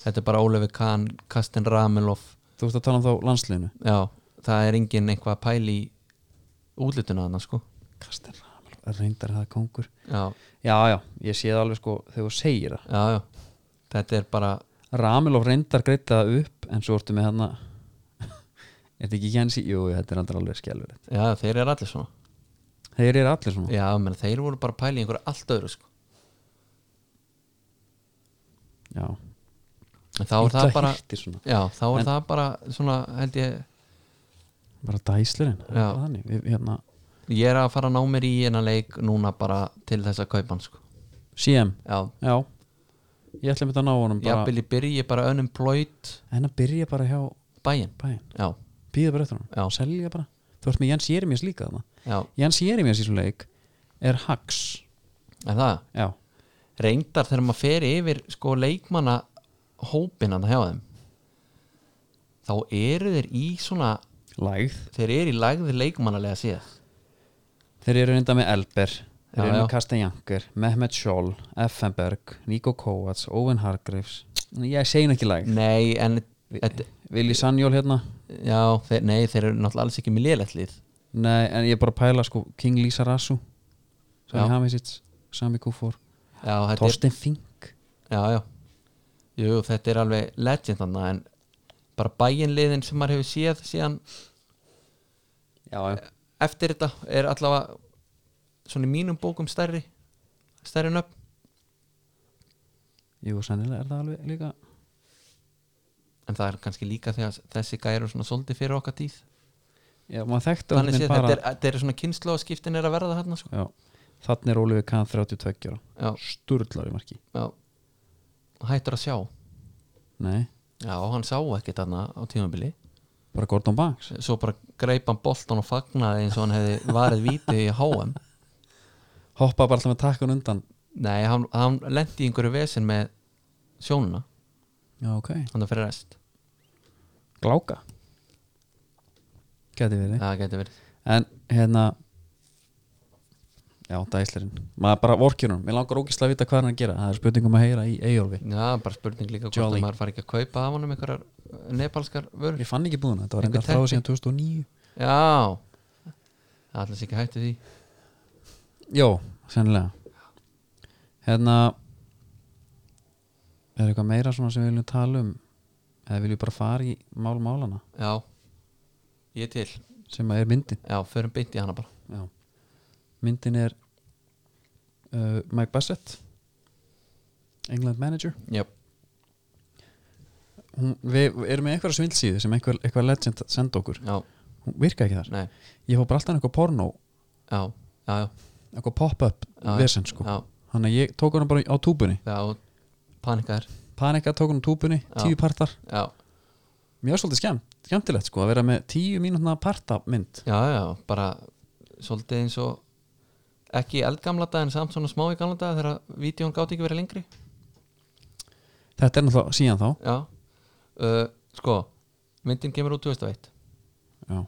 S2: þetta er bara Ólefi Kahn, Kastin Rameloff
S1: Þú ert að tala um þá landsliðinu
S2: já, það er engin eitthvað að pæli í útlituna þarna sko
S1: Kastin Ramelow, reyndar er það kongur
S2: já,
S1: Já, já, ég sé það alveg sko þegar þú segir
S2: já, já, þetta er bara
S1: það Ramelow reyndar greita það upp en svo ertu með hérna Er þetta ekki Jensi? Jú, jú, þetta er andra alveg skelfur
S2: já, þeir eru allir svona
S1: Þeir eru allir svona
S2: já, menn, þeir voru bara að pæli í einhverju allt öðru sko
S1: Já,
S2: en þá er það
S1: Illa
S2: bara
S1: hirtir svona.
S2: já, þá er
S1: En-
S2: það bara svona, held ég
S1: Bara dæslurinn
S2: Já.
S1: Þannig, við, hérna
S2: ég er að fara að ná mér í eina leik núna bara til þess að kaupa hann sko
S1: CM,
S2: já,
S1: já Ég ætla mér þetta að ná honum bara
S2: jafnvel ég byrji bara unemployed
S1: En að byrja bara hjá
S2: bæinn
S1: bæinn
S2: já,
S1: Býða bara eftir
S2: Já.
S1: honum, selja bara Þú ert með Jens Jeremías líka þarna
S2: já,
S1: Jens Jeremías í svo leik er Hax
S2: er það
S1: Já,
S2: reyndar þegar maður fer yfir sko leikmanna hópinan hjá þeim þá eru þeir í svona
S1: lægð
S2: þeir eru í lægði leikmannalega síðan
S1: Þeir eru reynda með Elber Þeir
S2: Já,
S1: eru
S2: já.
S1: með Kastanjanker, Mehmet Scholl Effenberg, Nico Kovacs, Owen Hargreaves Nei, Ég segi nú ekki læg
S2: nei, en et,
S1: Vili Sannjól hérna
S2: já, þeir, nei, þeir eru náttúrulega alls ekki með lélegt lið
S1: Nei, en ég er bara að pæla sko King Lisa Rassu
S2: Já.
S1: Sami Hamisic, Sami Kufor
S2: já, þetta er,
S1: Torsten Fink
S2: já, já Jú, þetta er alveg legend þarna en bara bæinliðin sem maður hefur séð síðan
S1: Já, já,
S2: Eh. eftir þetta er allavega svona í mínum bókum stærri stærri nöfn
S1: jú, sennilega er það alveg líka
S2: en það er kannski líka þegar þessi gæri eru svona svolítið fyrir okkar tíð
S1: Já, maður þekkti
S2: þannig
S1: honum
S2: séð
S1: bara
S2: þetta, er, þetta er svona kynslu og skiptin er að verða þarna sko.
S1: Já, þannig er Óliði Kahn 32 ára
S2: já,
S1: Sturlar í marki
S2: já. hættur að sjá
S1: Nei,
S2: já, hann sá ekkert þarna á tímabili
S1: bara Gordon Banks
S2: svo bara greip hann boltan og fagnaði eins og hann hefði varið víti í HM
S1: Hoppaði bara alltaf með takkan undan
S2: nei, hann, hann lendi í einhverju vesin með sjónuna,
S1: Já, ok
S2: hann er fyrir rest
S1: Gláka Gæti verið
S2: það getur verið
S1: En hérna Já, dæslerinn Maður bara vorkir hún Mér langar ógislega að vita hvað hann er að gera Það er spurningum að heyra í Eyjólfi
S2: já, bara spurning líka hvort
S1: Jolly.
S2: að maður fari ekki að kaupa af honum einhverjar eh, nepalskar vörur
S1: Ég fann ekki búin Þetta var reyndar
S2: Einhver
S1: frá
S2: teppi.
S1: síðan 2009
S2: já, það ætla sér ekki hætti því
S1: Jó, sennilega Hérna Er eitthvað meira svona sem við viljum tala um Eða viljum við bara fara í mál málana
S2: já, ég er til
S1: Sem að er myndin
S2: já, förum beint í hana bara
S1: Já. Myndin er uh, Mike Bassett England manager
S2: Jöp.
S1: hún, við, við erum með einhverja svindlsíði sem einhver, einhver legend senda okkur
S2: já,
S1: hún virka ekki þar
S2: nei,
S1: ég fór bara alltaf einhver porno
S2: já, já, já,
S1: einhver pop-up
S2: Já,
S1: vesen sko
S2: já,
S1: þannig að ég tók hana bara á túbunni
S2: já panikar,
S1: panika tók hana á túbunni,
S2: Já.
S1: tíu partar
S2: já,
S1: mjög svolítið skemmt, skemmtilegt sko að vera með tíu mínútna partamynd
S2: já, já bara svolítið eins og ekki í eldgamla dag en samt svona smá í gamla dag þegar vídjón gáti ekki verið lengri
S1: þetta er náttúrulega síðan þá
S2: já, uh, sko myndin kemur út 2001
S1: já.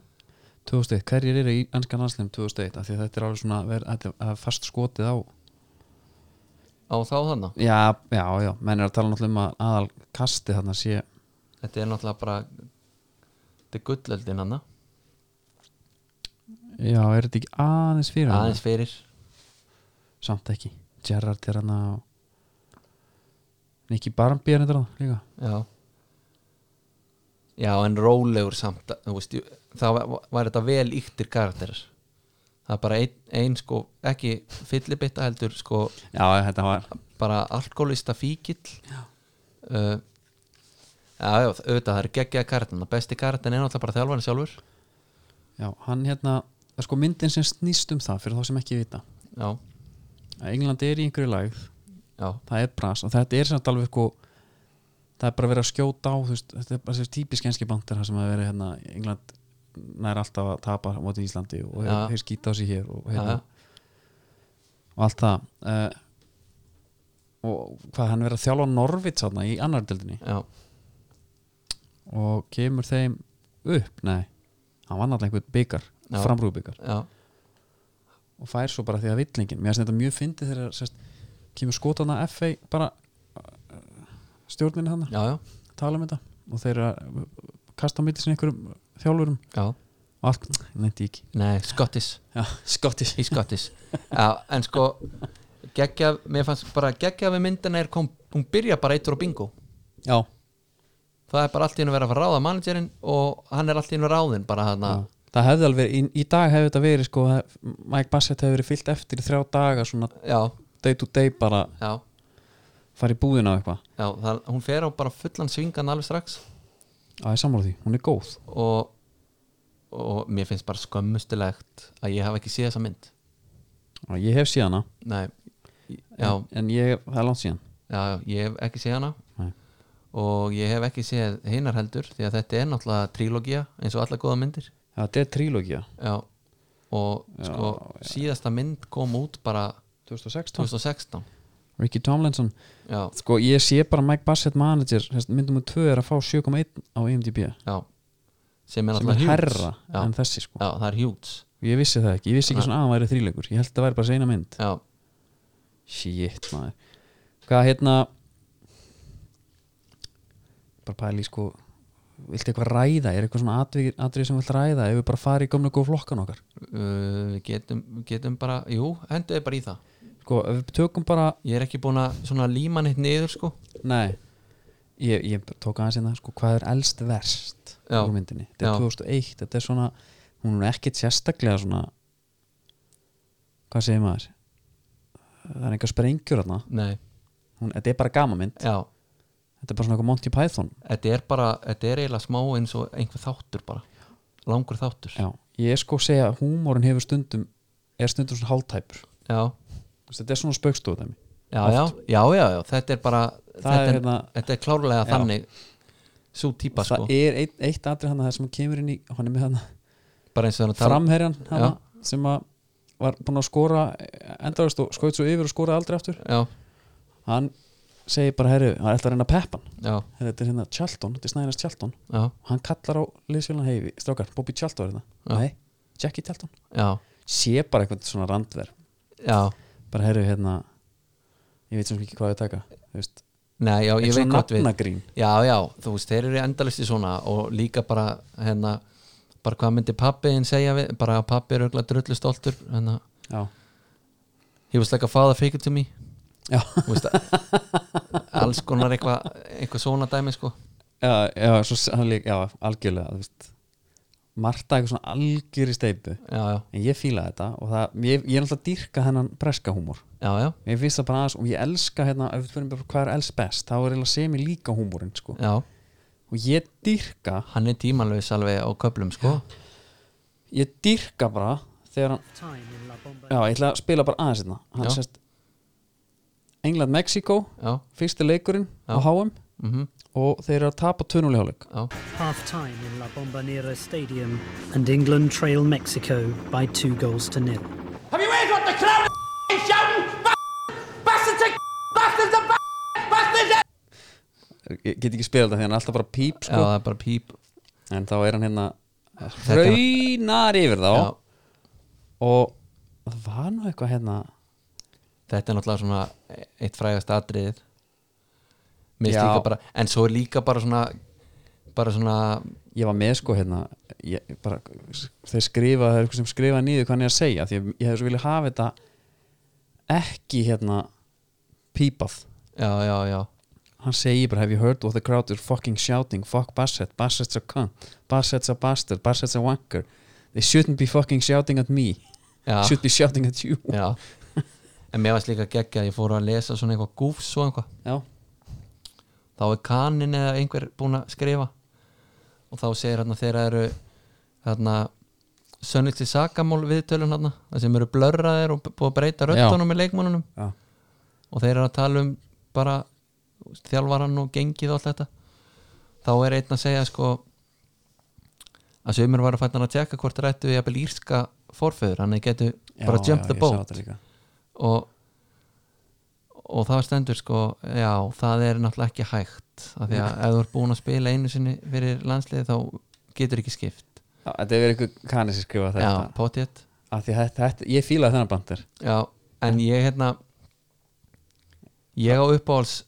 S1: 2001, hverjir eru í anskan landsliðum 2001 af því að þetta er alveg svona ver, þetta er- það er fast skotið á
S2: á þá þannig,
S1: já, já, já, menn er að tala náttúrulega um að aðal kasti þarna sé
S2: þetta er náttúrulega bara þetta er gullöldin hann
S1: já, er þetta ekki aðeins fyrir hana?
S2: aðeins fyrir,
S1: samt ekki Gerrard er hann að Nicky Barmby er þetta líka
S2: já já, en rólegur samt, þú veist, ég- þá var, var þetta vel yktir karakterar það er bara ein, ein sko, ekki fyllibitta heldur sko
S1: já, þetta var
S2: bara alkoholista fíkill uh, já, já, auðvitað það eru geggjaða kartan besti kartan er náttúrulega bara þjálfarinn sjálfur
S1: já, hann hérna, það er sko myndin sem snýst um það fyrir þá sem ekki vita
S2: já,
S1: að England er í einhverju lægð,
S2: já,
S1: það er bras og þetta er samt alveg sko það er bara verið að skjóta á þú veist, þetta er bara þessi típisk enski bandir það sem að vera hérna, England nær alltaf að tapa á móti Íslandi og
S2: Já.
S1: hefur hef skýta á sig hér og,
S2: já,
S1: hérna,
S2: já,
S1: og allt það uh, og hvað hann verið að þjálfa Norvits þarna í annardildinni
S2: já,
S1: og kemur þeim upp nei, hann vann alltaf einhvern byggar
S2: Já.
S1: framrúðbyggar
S2: já,
S1: og fær svo bara því að villingin mér finnst þetta mjög fyndið þegar sérst, kemur skotana FA bara uh, stjórninni hann
S2: já, já,
S1: tala um þetta og þeir eru að kasta á milli sinni einhverjum þjálfurum
S2: já,
S1: og allt, nefndi ég ekki
S2: nei, skottis
S1: Já, skottis
S2: í skottis já, en sko geggja, mér fannst bara geggja við myndina er kom, hún byrja bara eittur á bingo
S1: Já,
S2: það er bara allt í hennu verið að fara að ráða managerinn og hann er allt í hennu ráðinn bara þarna
S1: Já. Það hefði alveg, í, í dag hefði þetta verið sko, að Mike Bassett hefði verið fyllt eftir í þrjá daga svona
S2: já,
S1: day to day bara
S2: já,
S1: fara í búðina og eitthvað
S2: já það, hún fer á bara fullan svingan alveg strax
S1: Það er sammála því, hún er góð
S2: og, og mér finnst bara skömmustulegt að ég hafa ekki séð þessa mynd
S1: og Ég hef síðana,
S2: nei, já, já,
S1: en, en ég, það er langt síðan
S2: já ég hef ekki séð hana
S1: Nei.
S2: og ég hef ekki séð hinar heldur því að þetta er náttúrulega trílógia eins og alla góða myndir
S1: Já, Þetta er trílógia
S2: já, og sko síðasta mynd kom út bara
S1: 2016
S2: 2016
S1: Ricky Tomlinson
S2: já,
S1: Sko ég sé bara Mike Bassett manager þess- myndum úr 2 er að fá 7,1 á E IMDb
S2: já sem
S1: sem
S2: er náttúrulega
S1: er
S2: huge.
S1: herra
S2: já,
S1: en þessi sko
S2: já, það er hjúts
S1: Ég vissi það ekki, ég vissi ekki svona að hann væri þríleikur Ég held að það væri bara seina mynd
S2: já,
S1: Shit maður Hvað hérna Bara pæli sko Viltu eitthvað ræða, er eitthvað svona atvik- atrið sem vilt ræða ef við bara fara í gömlega góð flokkan okkar
S2: uh, við getum, getum bara jú, henduðu bara í það
S1: Sko, ef við tökum bara
S2: ég er ekki búin að svona líma neitt niður sko
S1: Nei, ég, ég tók aðeins hérna sko, hvað er elst verst
S2: Já.
S1: úr myndinni, þetta
S2: Já.
S1: er 2001 þetta er svona, hún er ekkit sérstaklega svona hvað segir maður það er einhver sprengjur hérna
S2: nei,
S1: hún, þetta er bara gamamynd,
S2: já,
S1: þetta er bara svona eitthvað Monty Python
S2: þetta er bara þetta er eiginlega smá eins og einhver þáttur bara langur þáttur
S1: Já. ég er sko að segja að húmórin hefur stundum er stundum svona hálftæpur
S2: já,
S1: Þú veist, þetta er svona spaukstóð dæmi
S2: já, já, já, já, já. þetta er bara þetta
S1: er
S2: er,
S1: hérna-
S2: þetta er klárlega
S1: Já.
S2: þannig svo típa sko,
S1: það er eitt, eitt atrið hann það sem hann kemur inn í hann er með hann
S2: bara eins og þannig
S1: framherjan hana,
S2: Já.
S1: sem að var búinn að skora endaðist og skoðið svo yfir og skoraði aldrei aftur
S2: já,
S1: hann segir bara herru, hann ætla að reyna að peppa hann
S2: já,
S1: Herru, þetta er hérna Charlton, þetta er snæðinast Charlton
S2: já,
S1: og hann kallar á liðsfélan heiði strákar, Bobby Charlton er þetta nei, Jackie Charlton
S2: já,
S1: sé bara eitthvað svona randver
S2: já
S1: bara herru hérna ég veit sem ekki hvað við taka þú veist,
S2: Nei, já,
S1: eitthvað
S2: ég veit
S1: svona
S2: hvað við
S1: nafnagrín
S2: Já, já, þú veist, þeir eru endalisti svona og líka bara, hérna bara hvað myndi pappiðin segja við bara að pappi er auðvitað drullu stoltur hérna,
S1: já,
S2: he was like a father figure to me
S1: já,
S2: Þú veist, alls konar eitthvað eitthvað svona dæmi, sko
S1: já, já, svo, s- hann líka- já algjörlega þú veist. Marta eitthvað svona algjör í steipu
S2: Já, já,
S1: en ég fíla þetta og það, ég, ég er alltaf dýrka hennan breska húmor
S2: já, já,
S1: ég finnst það bara aðeins og ég elska hérna ef við fyrir bara hvað er elst best þá er eiginlega semi líka húmorinn sko
S2: já
S1: og ég dýrka
S2: hann er tímanlaus alveg á köflum, sko
S1: ég dýrka bara þegar hann já ég ætla að spila bara aðeins hérna hann
S2: Já.
S1: sérst England Mexico
S2: Já,
S1: fyrsti leikurinn
S2: Já.
S1: á HM
S2: mhm,
S1: og þeir eru að tapa tönulíháleik
S2: já,
S3: Half time in La Bombonera Stadium, and England trail Mexico by two goals to nil.
S4: Have you heard what the crowd is shouting? Bastards are bastards are bastards are
S1: ég get ekki spila þetta því hann er alltaf bara píp
S2: já,
S1: sko
S2: það er bara píp
S1: en þá er hann hérna
S2: er-
S1: raunar yfir þá
S2: Já,
S1: og það var nú eitthvað hérna
S2: þetta er náttúrulega svona eitt frægast atriðið Mér finnst
S1: Já.
S2: líka bara, en svo er líka bara svona bara svona
S1: ég var með sko hérna ég, bara, þeir skrifa, það er eitthvað sem skrifa nýður hvað hann er að segja, því ég, ég hef svo vilja hafa þetta ekki hérna pípað
S2: já, já, já,
S1: hann segir bara, have you heard what the crowd is fucking shouting, fuck Bassett, Bassett's a cunt Bassett's a bastard, Bassett's a wanker they shouldn't be fucking shouting at me
S2: já,
S1: should be shouting at you
S2: já. en mér varst líka geggja að ég fór að lesa svona eitthvað gúfs og eitthvað
S1: já,
S2: þá er kanin eða einhver búin að skrifa og þá segir hérna þeirra eru hérna Sönnisti Sakamól viðtölun hérna það sem eru blörraðir og b- búið að breyta röddunum með leikmönunum
S1: já,
S2: og þeir eru að tala um bara þjálfaran og gengið og allt þetta þá er einn að segja sko að sömur var að fætna að tjekka hvort rættu ég að bel írska forföður hann getur bara
S1: já,
S2: jump the
S1: ég sá
S2: boat
S1: þetta líka.
S2: og og það stendur sko já, það er náttúrulega ekki hægt af því að ef þú ert búin að spila einu sinni fyrir landsliði þá getur ekki skipt
S1: Já, þetta er verið eitthvað kanni sem skrifa þetta
S2: já, potjett
S1: af því að þetta, þetta, ég fílaði þennan bandir
S2: já, en ég hérna ég á uppáhalds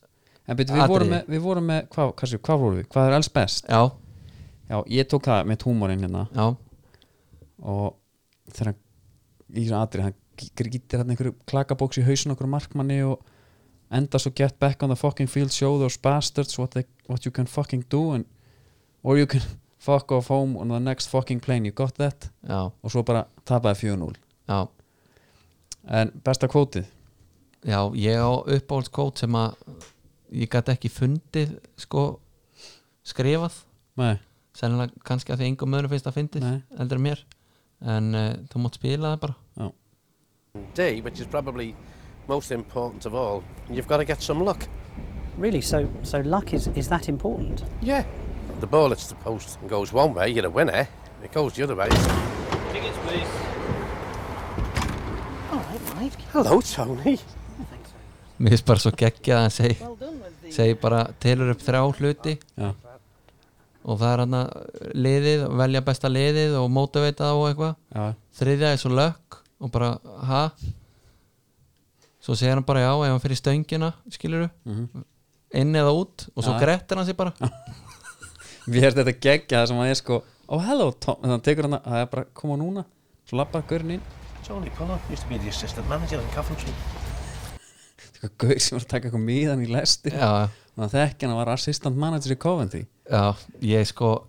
S1: En betur, við, vorum
S2: Atriði.
S1: með, við vorum með, hvað, hvað, hvað vorum við? Hvað er alls best?
S2: já,
S1: Já, ég tók það með túmorinn hérna
S2: já,
S1: og þegar hann, í svona atrið, hann grítir hann einhverju klakabóks í hausin okkur markmanni og enda svo get back on the fucking field show those bastards what, they, what you can fucking do and, or you can fuck off home on the next fucking plane, you got that?
S2: já,
S1: Og svo bara tapaði 4-0
S2: já
S1: En besta kvótið
S2: Já, ég á uppáhaldskót sem að ég gæti ekki fundið sko skrifað
S1: Nei,
S2: sennilega kannski að því engum mönnum finnst að fyndið
S1: Nei.
S2: eldur en mér en uh, þú mátt spila það bara
S1: já
S5: D, which is probably most important of all, you've got to get some luck.
S3: Really, so so luck is, is that important?
S5: Yeah. The ball hits the post and goes one way, you're a winner. It goes the other way.
S6: Tickets, please.
S3: All right, Mike.
S5: Hello, Tony.
S2: Mér finnst bara svo geggjað að hann segi,
S6: Well done with the.
S2: segi bara telur upp þrjá hluti
S1: Já.
S2: og það er hann að liðið velja besta liðið og mótiveita og eitthvað
S1: Já,
S2: þriðja er svo lökk og bara ha svo segir hann bara já ef hann fyrir stöngina skilur inn eða út og svo
S1: Mhm. Já.
S2: grettir hann sér bara
S1: Við erum þetta geggja það sem að ég sko Oh hello Tom, þannig að hann tekur hann að það er bara koma núna Svo labbar gaurinn inn
S5: Tony Pollard used to be the assistant manager in Coventry.
S1: Þetta gaur sem var að taka eitthvað miðan í lesti
S2: já,
S1: Þannig að þekki hann að var assistant manager í Coventry
S2: já, ég sko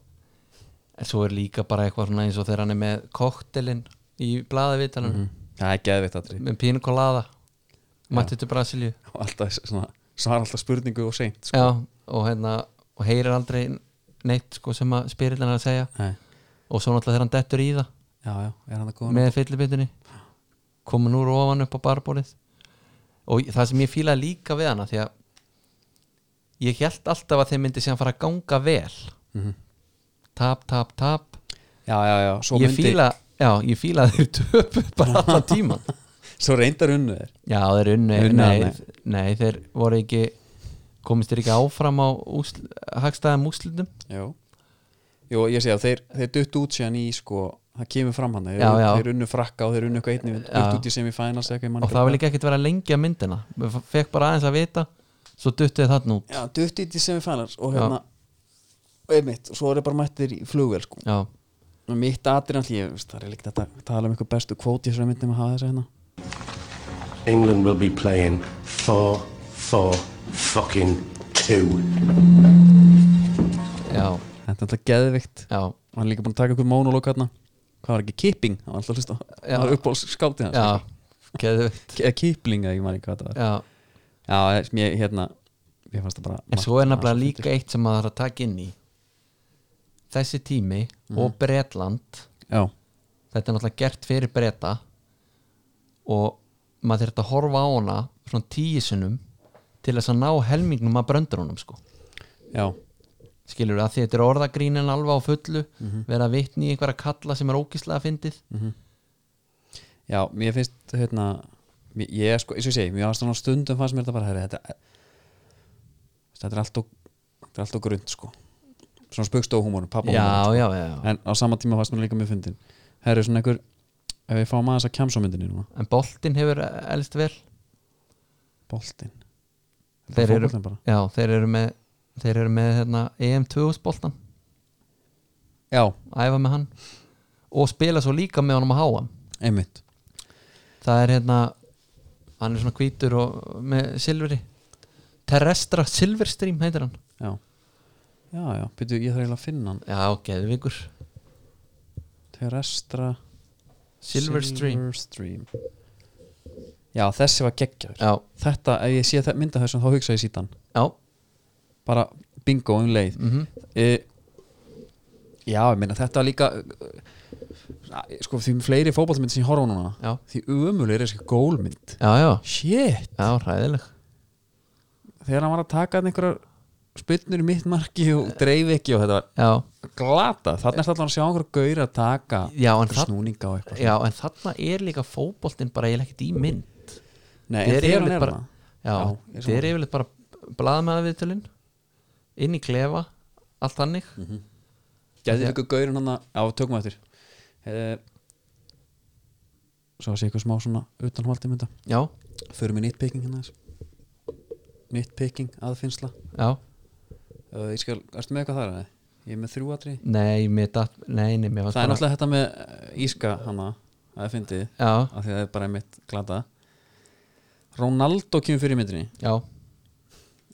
S2: en svo er líka bara eitthvað svona eins og þegar hann er með koktelin í blaðavitanum
S1: Mhm. Það er geðvitt aðri
S2: með pínu kolada mætti til Brasilíu
S1: Og alltaf svona Svara alltaf spurningu og seint sko.
S2: já, og hérna og heyrir aldrei neitt sko sem að spyrillin er að segja
S1: Nei.
S2: og svo náttúrulega þegar hann dettur í það
S1: Já, já, er hann að góða
S2: með fyllibindunni komin úr ofan upp á barbólið og það sem ég fílaði líka við hana því að ég held alltaf að þeim myndi síðan fara að ganga vel
S1: Mhm.
S2: tap, tap, tap
S1: Já, já, já, svo
S2: ég
S1: myndi
S2: fíla, já, ég fíla að þeir töpu bara allan tíman
S1: Svo reyndar unnu þeir
S2: já, þeir unnu,
S1: Unnu
S2: nei,
S1: hana.
S2: nei, þeir voru ekki komist þeir ekki áfram á úsl, hagstæðum úslitum
S1: Jú Jú, ég sé að þeir, þeir dutt út síðan í sko Það kemur fram hann Þeir,
S2: Já, já.
S1: þeir unnu frakka og þeir unnu eitthvað einnig Dutt út í semifinals eða eitthvað ég man
S2: og
S1: ekki
S2: það var
S1: hvað.
S2: líka ekkert verið að lengja myndina við fekk bara aðeins að vita svo duttu þið þarna út
S1: Já, dutt út í semifinals og
S2: Já.
S1: hérna og einmitt, svo er ég bara mættir í flugvél sko.
S2: já,
S1: og mitt atriðan því, ég veist, það er líkt að ta- tala um eitthvað bestu kvóti í þessari myndi með að hafa þess hérna
S7: England will be playing 4 4 fucking 2.
S2: já,
S1: þetta er alltaf geðvikt
S2: já
S1: og hann er líka búin að taka eitthvað mónulók hérna hvað var ekki, Kipping, hann var alltaf að hlusta á-
S2: Já.
S1: hann var uppáhalds skátið hans
S2: Já, geðvitt
S1: Ki- eða Kipling, eða ég maður ekki hvað það var
S2: Já,
S1: já, ég- mér, hérna, ég fannst það bara
S2: en svo er nefnilega
S1: Allt
S2: líka eitt sem maður þarf að taka inn í Þessi tími og Bretland
S1: fyrir- já,
S2: Þetta er náttúrulega gert fyrir Breta og maður þurft að horfa á hana svona tíisunum til þess að ná helmingnum að bröndurunum sko
S1: já,
S2: skilur við að því þetta er orðagrínin alveg á fullu vera vitni í einhverja kalla sem er ógislega fyndið
S1: já, mér finnst hérna, mér, ég sko, eins og ég segi mér fannst þannig á stundum fannst mér þetta bara herri, þetta, þetta er allt og þetta er allt og grund, sko svona spugstofhúmórum, pappahúmórum
S2: Já, já, já, já
S1: sko. en á sama tíma fannst mér líka mjög fyndin herru svona einhver ef við fáum aðeins að kjamsómyndinni núna
S2: En boltinn hefur elst vel
S1: boltinn
S2: Þeir
S1: Bara
S2: eru-
S1: fótboltinn bara.
S2: Já, þeir eru með þeir eru með hérna, EM2 spoltan
S1: já,
S2: æfa með hann og spila svo líka með honum að háa
S1: einmitt
S2: það er hérna hann er svona hvítur og með silfri Terrestra Silverstream heitir hann
S1: já, já, já, byrju, ég þarf eiginlega að finna hann
S2: já, geðvíkur
S1: terrestra
S2: Silverstream
S1: Silverstream. já, þessi var geggjaður
S2: já,
S1: þetta, ef ég sé þetta mynda þessum þá hugsa ég sítan
S2: já,
S1: bara bingo um leið mm já, ég meina þetta var líka eh, sko, því fleiri fótballmynd sem ég horfa á núna
S2: Já.
S1: því umulir er þessi gólmynd
S2: já, já
S1: shit
S2: já, hræðileg
S1: þegar hann var að taka hann einhverjar spynnur í mitt marki og dreif ekki og þetta var
S2: já,
S1: glata, þannig er alltaf að sjá einhverjar gaur að taka
S2: Já, en
S1: einhverja
S2: það-
S1: snúninga og eitthvað
S2: já, en þarna er líka fótboltinn bara eiginlega ekkert í mynd
S1: Nei, en
S2: Þeir
S1: þegar hann
S2: yfirleitt
S1: er
S2: bara-
S1: hana
S2: já,
S1: Já, ég er
S2: þeir eru yfirleitt bara blaðmaðaviðtölin inn í klefa allt þannig
S1: gæði einhver gaurinn hann að, já, tökum við eftir eh, svo sé eitthvað smá svona utanhaldi mynda,
S2: já,
S1: förum í nýttpicking hérna aðeins. nitpicking aðfinnsla
S2: já,
S1: uh, ég skal, erstu með eitthvað þar að ég er með þrjú atri
S2: nei, mér datt nei, nei, mér
S1: það er
S2: fannst bara-
S1: náttúrulega þetta með eh, íska hana að það fyndi
S2: já,
S1: af því að það er bara mitt glata Ronaldo kemur fyrir í myndinni
S2: já,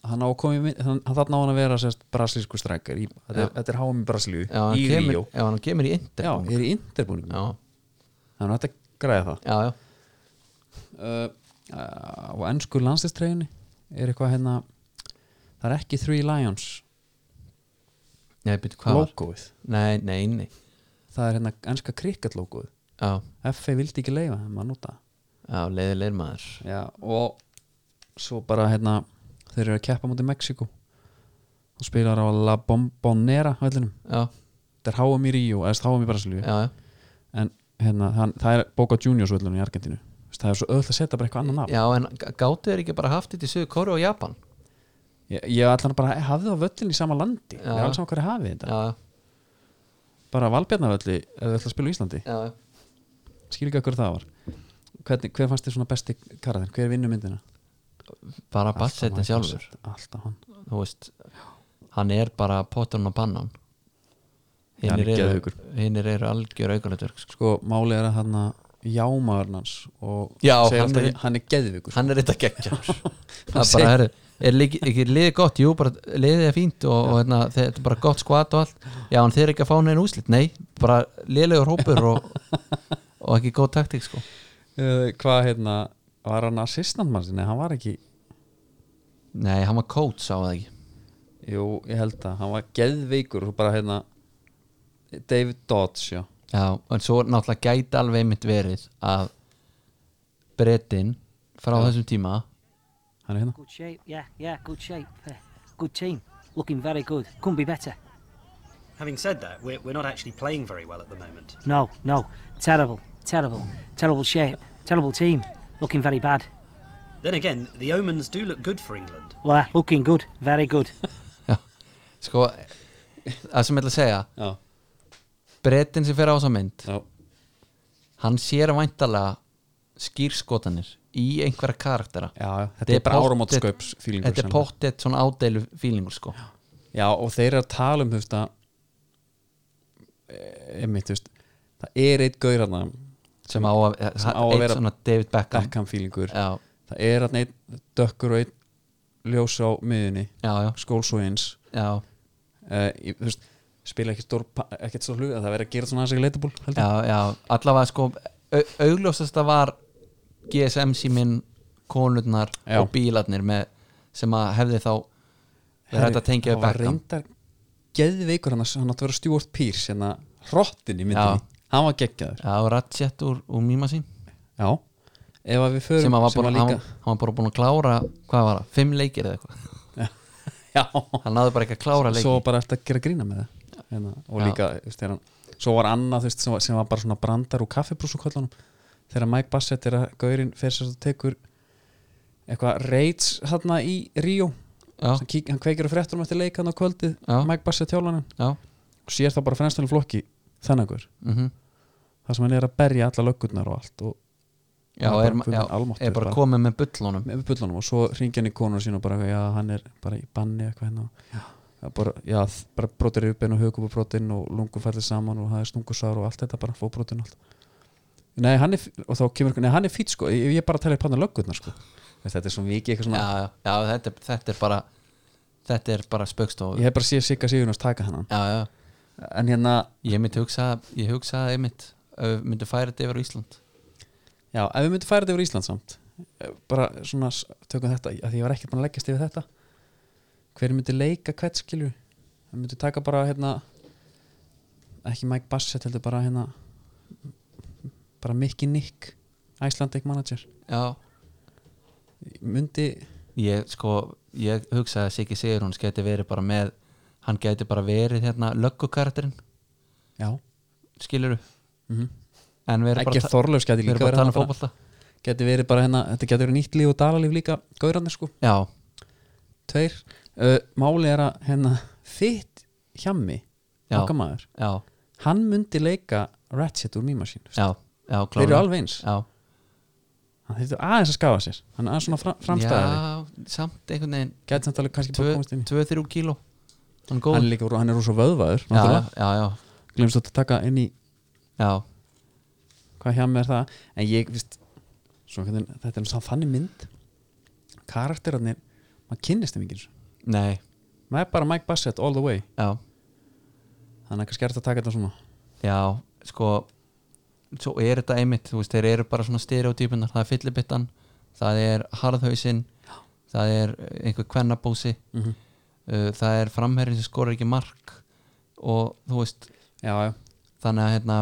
S1: hann á að koma í mynd, hann, hann þarna á hann að vera sérst brasilísku strækjar, í- þetta er-
S2: Já.
S1: þetta er háum í Brasilíu
S2: já, hann
S1: í
S2: kemur
S1: Ríó
S2: já, hann kemur í
S1: já,
S2: Inter
S1: er í interbúningum
S2: já,
S1: þannig að þetta græða það
S2: já, já,
S1: uh, á ennsku landslistreginni er eitthvað hérna það er ekki Three Lions
S2: nei, byrju, hvað var
S1: logoið
S2: nei, nei, nei,
S1: það er hérna ennska krikket logoið
S2: já,
S1: FA vildi ekki leifa þeim að nota
S2: já, leiðir leir maður
S1: Já, og svo bara hérna þeir eru að keppa mútið Mexiko og spilar á La Bombonera vellinum.
S2: já,
S1: þetta er háum í Ríó eða háum í Brasilíu
S2: já, já,
S1: en hérna, hann, það er Boca Juniors völlunum í Argentínu Þú veist, það er svo öll að setja bara eitthvað annan af
S2: já, en g- gátu þeir ekki bara haft þetta í sögur Kóru og Japan
S1: ég, ég ætla hann bara að hafa það á völlin í sama landi
S2: Já.
S1: ég er alls á hverju hafið þetta
S2: já,
S1: bara Valbjarnavölli ef þau ætla að spila á Íslandi
S2: já, já
S1: skil ekki okkur það var Hvernig, hver fannst þér svona besti karaðin, hver vinnur myndina?
S2: bara
S1: Alltaf
S2: bassetin
S1: Michael
S2: sjálfur
S1: Bassett, Alltaf hann
S2: þú veist hann er bara potturinn og pannan
S1: Já, hann er
S2: hinnir eru,
S1: geðveikur.
S2: hinir eru algjör aukarlætverk sko.
S1: sko málið er að hann jámaðurinn hans og
S2: Já,
S1: segir
S2: hann
S1: alltaf,
S2: er-
S1: hann er geðvikur
S2: hann er þetta geggjar það er bara
S1: segir-
S2: herri er líki- ekki liðið gott, jú, bara liðið er fínt og, og hérna, þe- þetta er bara gott skvat og allt já, en þeir eru ekki að fá neina úslit, nei bara liðlegur hópur og, og ekki góð taktík, sko
S1: uh, hvað hérna var hann assistant mann sinni, hann var ekki
S2: nei, hann var coach, sá það ekki
S1: jú, ég held að, hann var geðvikur og bara hérna David Dodds, já
S2: já, en svo náttúrulega gæti alveg einmitt verið að brettin frá þessum tíma
S1: hann er hérna,
S8: Good shape, yeah, yeah, good shape. Uh, Good team, looking very good. Couldn't be better.
S3: Having said that, we're, we're not actually playing very well at the moment.
S8: No, no, terrible, terrible, terrible shape, terrible team, looking very bad.
S3: Then again, the omens do look good for England.
S8: Well, looking good, very good.
S2: sko það sem ég ætla að segja
S1: já,
S2: brettin sem fer á þessa mynd
S1: já,
S2: hann sér væntalega skýrskotanir í einhverja karaktera
S1: já, já. þetta er bara
S2: pottet-
S1: áramótskaups fílingur
S2: þetta er
S1: sennilega.
S2: pottet svona ádeilu fílingur sko
S1: já, og þeir eru að tala um þú veist að eh, einmitt, þú veist það er eitt gaur hann
S2: sem á að,
S1: sem á að
S2: einn
S1: vera-
S2: svona David Beckham,
S1: Beckham fílingur
S2: Já,
S1: það er hann einn dökkur og einn ljós á miðunni
S2: já, já,
S1: skóls og eins
S2: já,
S1: uh, ég, þú veist, spila ekki stór pa- ekkert stór hlut að það verið að gera svona aðeins ekki leitaból heldur
S2: já, já allavega sko au- augljósasta var GSM síminn konurnar
S1: Já.
S2: og bílarnir með, sem að hefði þá verið hægt að tengja við
S1: var
S2: Beckham
S1: reyndar geðveikur hann hann átti að vera Stuart Pearce hérna hrottin í myndinni hann var geggjaður
S2: já, Ratchet úr, úr Míma sín
S1: já ef að við förum
S2: sem hann var, bara,
S1: líka
S2: hann, hann var bara búin að klára hvað var það, fimm leikir eða eitthvað
S1: já
S2: hann náði bara ekki að klára leikir
S1: svo bara eftir að gera grína með það hérna, og
S2: Já.
S1: líka þú veist, þegar hann svo var annað þú veist, sem, var, sem var bara svona brandar úr kaffibrúsuköllunum þegar Mike Bassett er að gaurinn fer sér og tekur eitthvað reits hérna í Ríó
S2: já,
S1: Sem kík, hann kveikir á fréttunum eftir leik hann á kvöldið
S2: Já.
S1: Mike Bassett hjálfanin
S2: já,
S1: og sér það bara fremstæli flokki þennakur
S2: mm
S1: þar sem hann er að berja alla löggurnar og allt og
S2: já,
S1: Hann er
S2: er,
S1: bara
S2: já,
S1: guðminn almáttugur
S2: er bara
S1: bara.
S2: komið með bullunum
S1: með bullunum og svo ringi hann í konur sín og bara já, hann er bara í banni eitthvað hérna og- Já, bara, já, þ- bara brotir yfirbein og högkúpabrotin og lungu fallið saman og það er stungusár og allt þetta bara fóbrotin og allt nei, hann er, f- og þá kemur eitthvað, nei, hann er fýt sko ég, ég er bara að tala upp hann að löggurnar sko Veist, þetta er svo mikið eitthvað
S2: já,
S1: svona
S2: já, já þetta, er- þetta er bara þetta er bara spöggstofu
S1: ég hef bara séð Sigga Sigurnas taka hennan
S2: já, já,
S1: en hérna,
S2: ég myndi hugsa ég hugsa einmitt, ef við myndum færa þetta yfir á Ísland
S1: já, ef við myndum færa þetta yfir Ísland samt eh, bara svona, s- tökum þetta af því ég var ekkert búin að leggjast yfir þetta hver myndi leika hvert skilur það myndi taka bara hérna ekki Mike Bassett heldur bara hérna bara Mickey Nick Icelandic manager
S2: já,
S1: myndi,
S2: ég sko ég hugsa að Siggi Sigurjóns geti verið bara með hann geti bara verið hérna löggukarakterinn,
S1: já
S2: skilur en við erum bara
S1: ekki
S2: að ta-
S1: Þorlaus geti
S2: við
S1: Mhm.
S2: erum
S1: líka verið
S2: bara að tala
S1: þarna
S2: um
S1: bara-
S2: fótbolta
S1: geti verið bara hérna, þetta geti verið nýtt líf og dalalíf líka gaurarnir sko,
S2: já,
S1: tveir uh, máli er að hérna þitt hjammi,
S2: Já.
S1: okkar maður
S2: já,
S1: hann myndi leika Ratchet úr Mímasín
S2: já, já
S1: þeir eru
S2: klárlega.
S1: alveg eins
S2: já,
S1: hann þýtti aðeins að skafa sér hann er aðeins svona fra, framstæðari
S2: Já, samt einhvern veginn
S1: gæti samt alveg kannski bara komast inn í
S2: 2-3 kíló Hann er góð
S1: hann er líka, hann er rosa vöðvaður
S2: já, já,
S1: náttúrulega.
S2: já, já,
S1: glemst þetta að taka inn í
S2: já,
S1: hvað hjá mig er það en ég, víst, svo, hvernig, þetta er nú samt þannig mynd karakterarnir, maður kynnist þeim ekki einu sinni.
S2: nei,
S1: maður er bara Mike Bassett all the way
S2: já
S1: þannig að kannski er þetta að taka þetta svona
S2: Já, sko svo er þetta einmitt, þú veist, þeir eru bara svona stereotypunar, það er fyllibittan það er harðhausinn það er eh, einhver kvennabósi uh, það er framherrin sem skorar ekki mark og þú veist
S1: já, já,
S2: þannig að hérna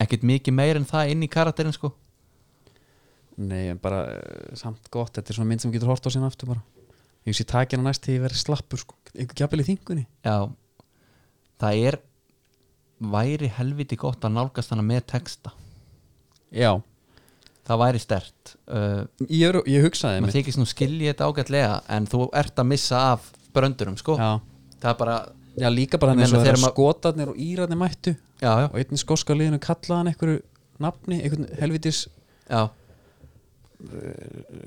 S2: ekkert mikið meir en það inn í karakterin sko
S1: nei, en bara eh, samt gott, þetta er svona mynd sem getur hort á sína aftur bara ég sé takin á næst til ég verið slappur sko, einhver gjapil í þingunni
S2: Já, það er væri helviti gott að nálgast hana með texta
S1: já,
S2: það væri stert uh,
S1: ég, er, ég hugsaði
S2: maður
S1: einmitt.
S2: þykist nú skilja þetta ágætlega en þú ert að missa af bröndurum sko
S1: já,
S2: það er bara,
S1: já, líka bara
S2: Ég
S1: hann eins og
S2: meina,
S1: þegar
S2: þegar ma-
S1: skotarnir og íratnir mættu
S2: já, já,
S1: og einnig skoska liðinu kallaði hann einhverju nafni, einhvern helvitis
S2: já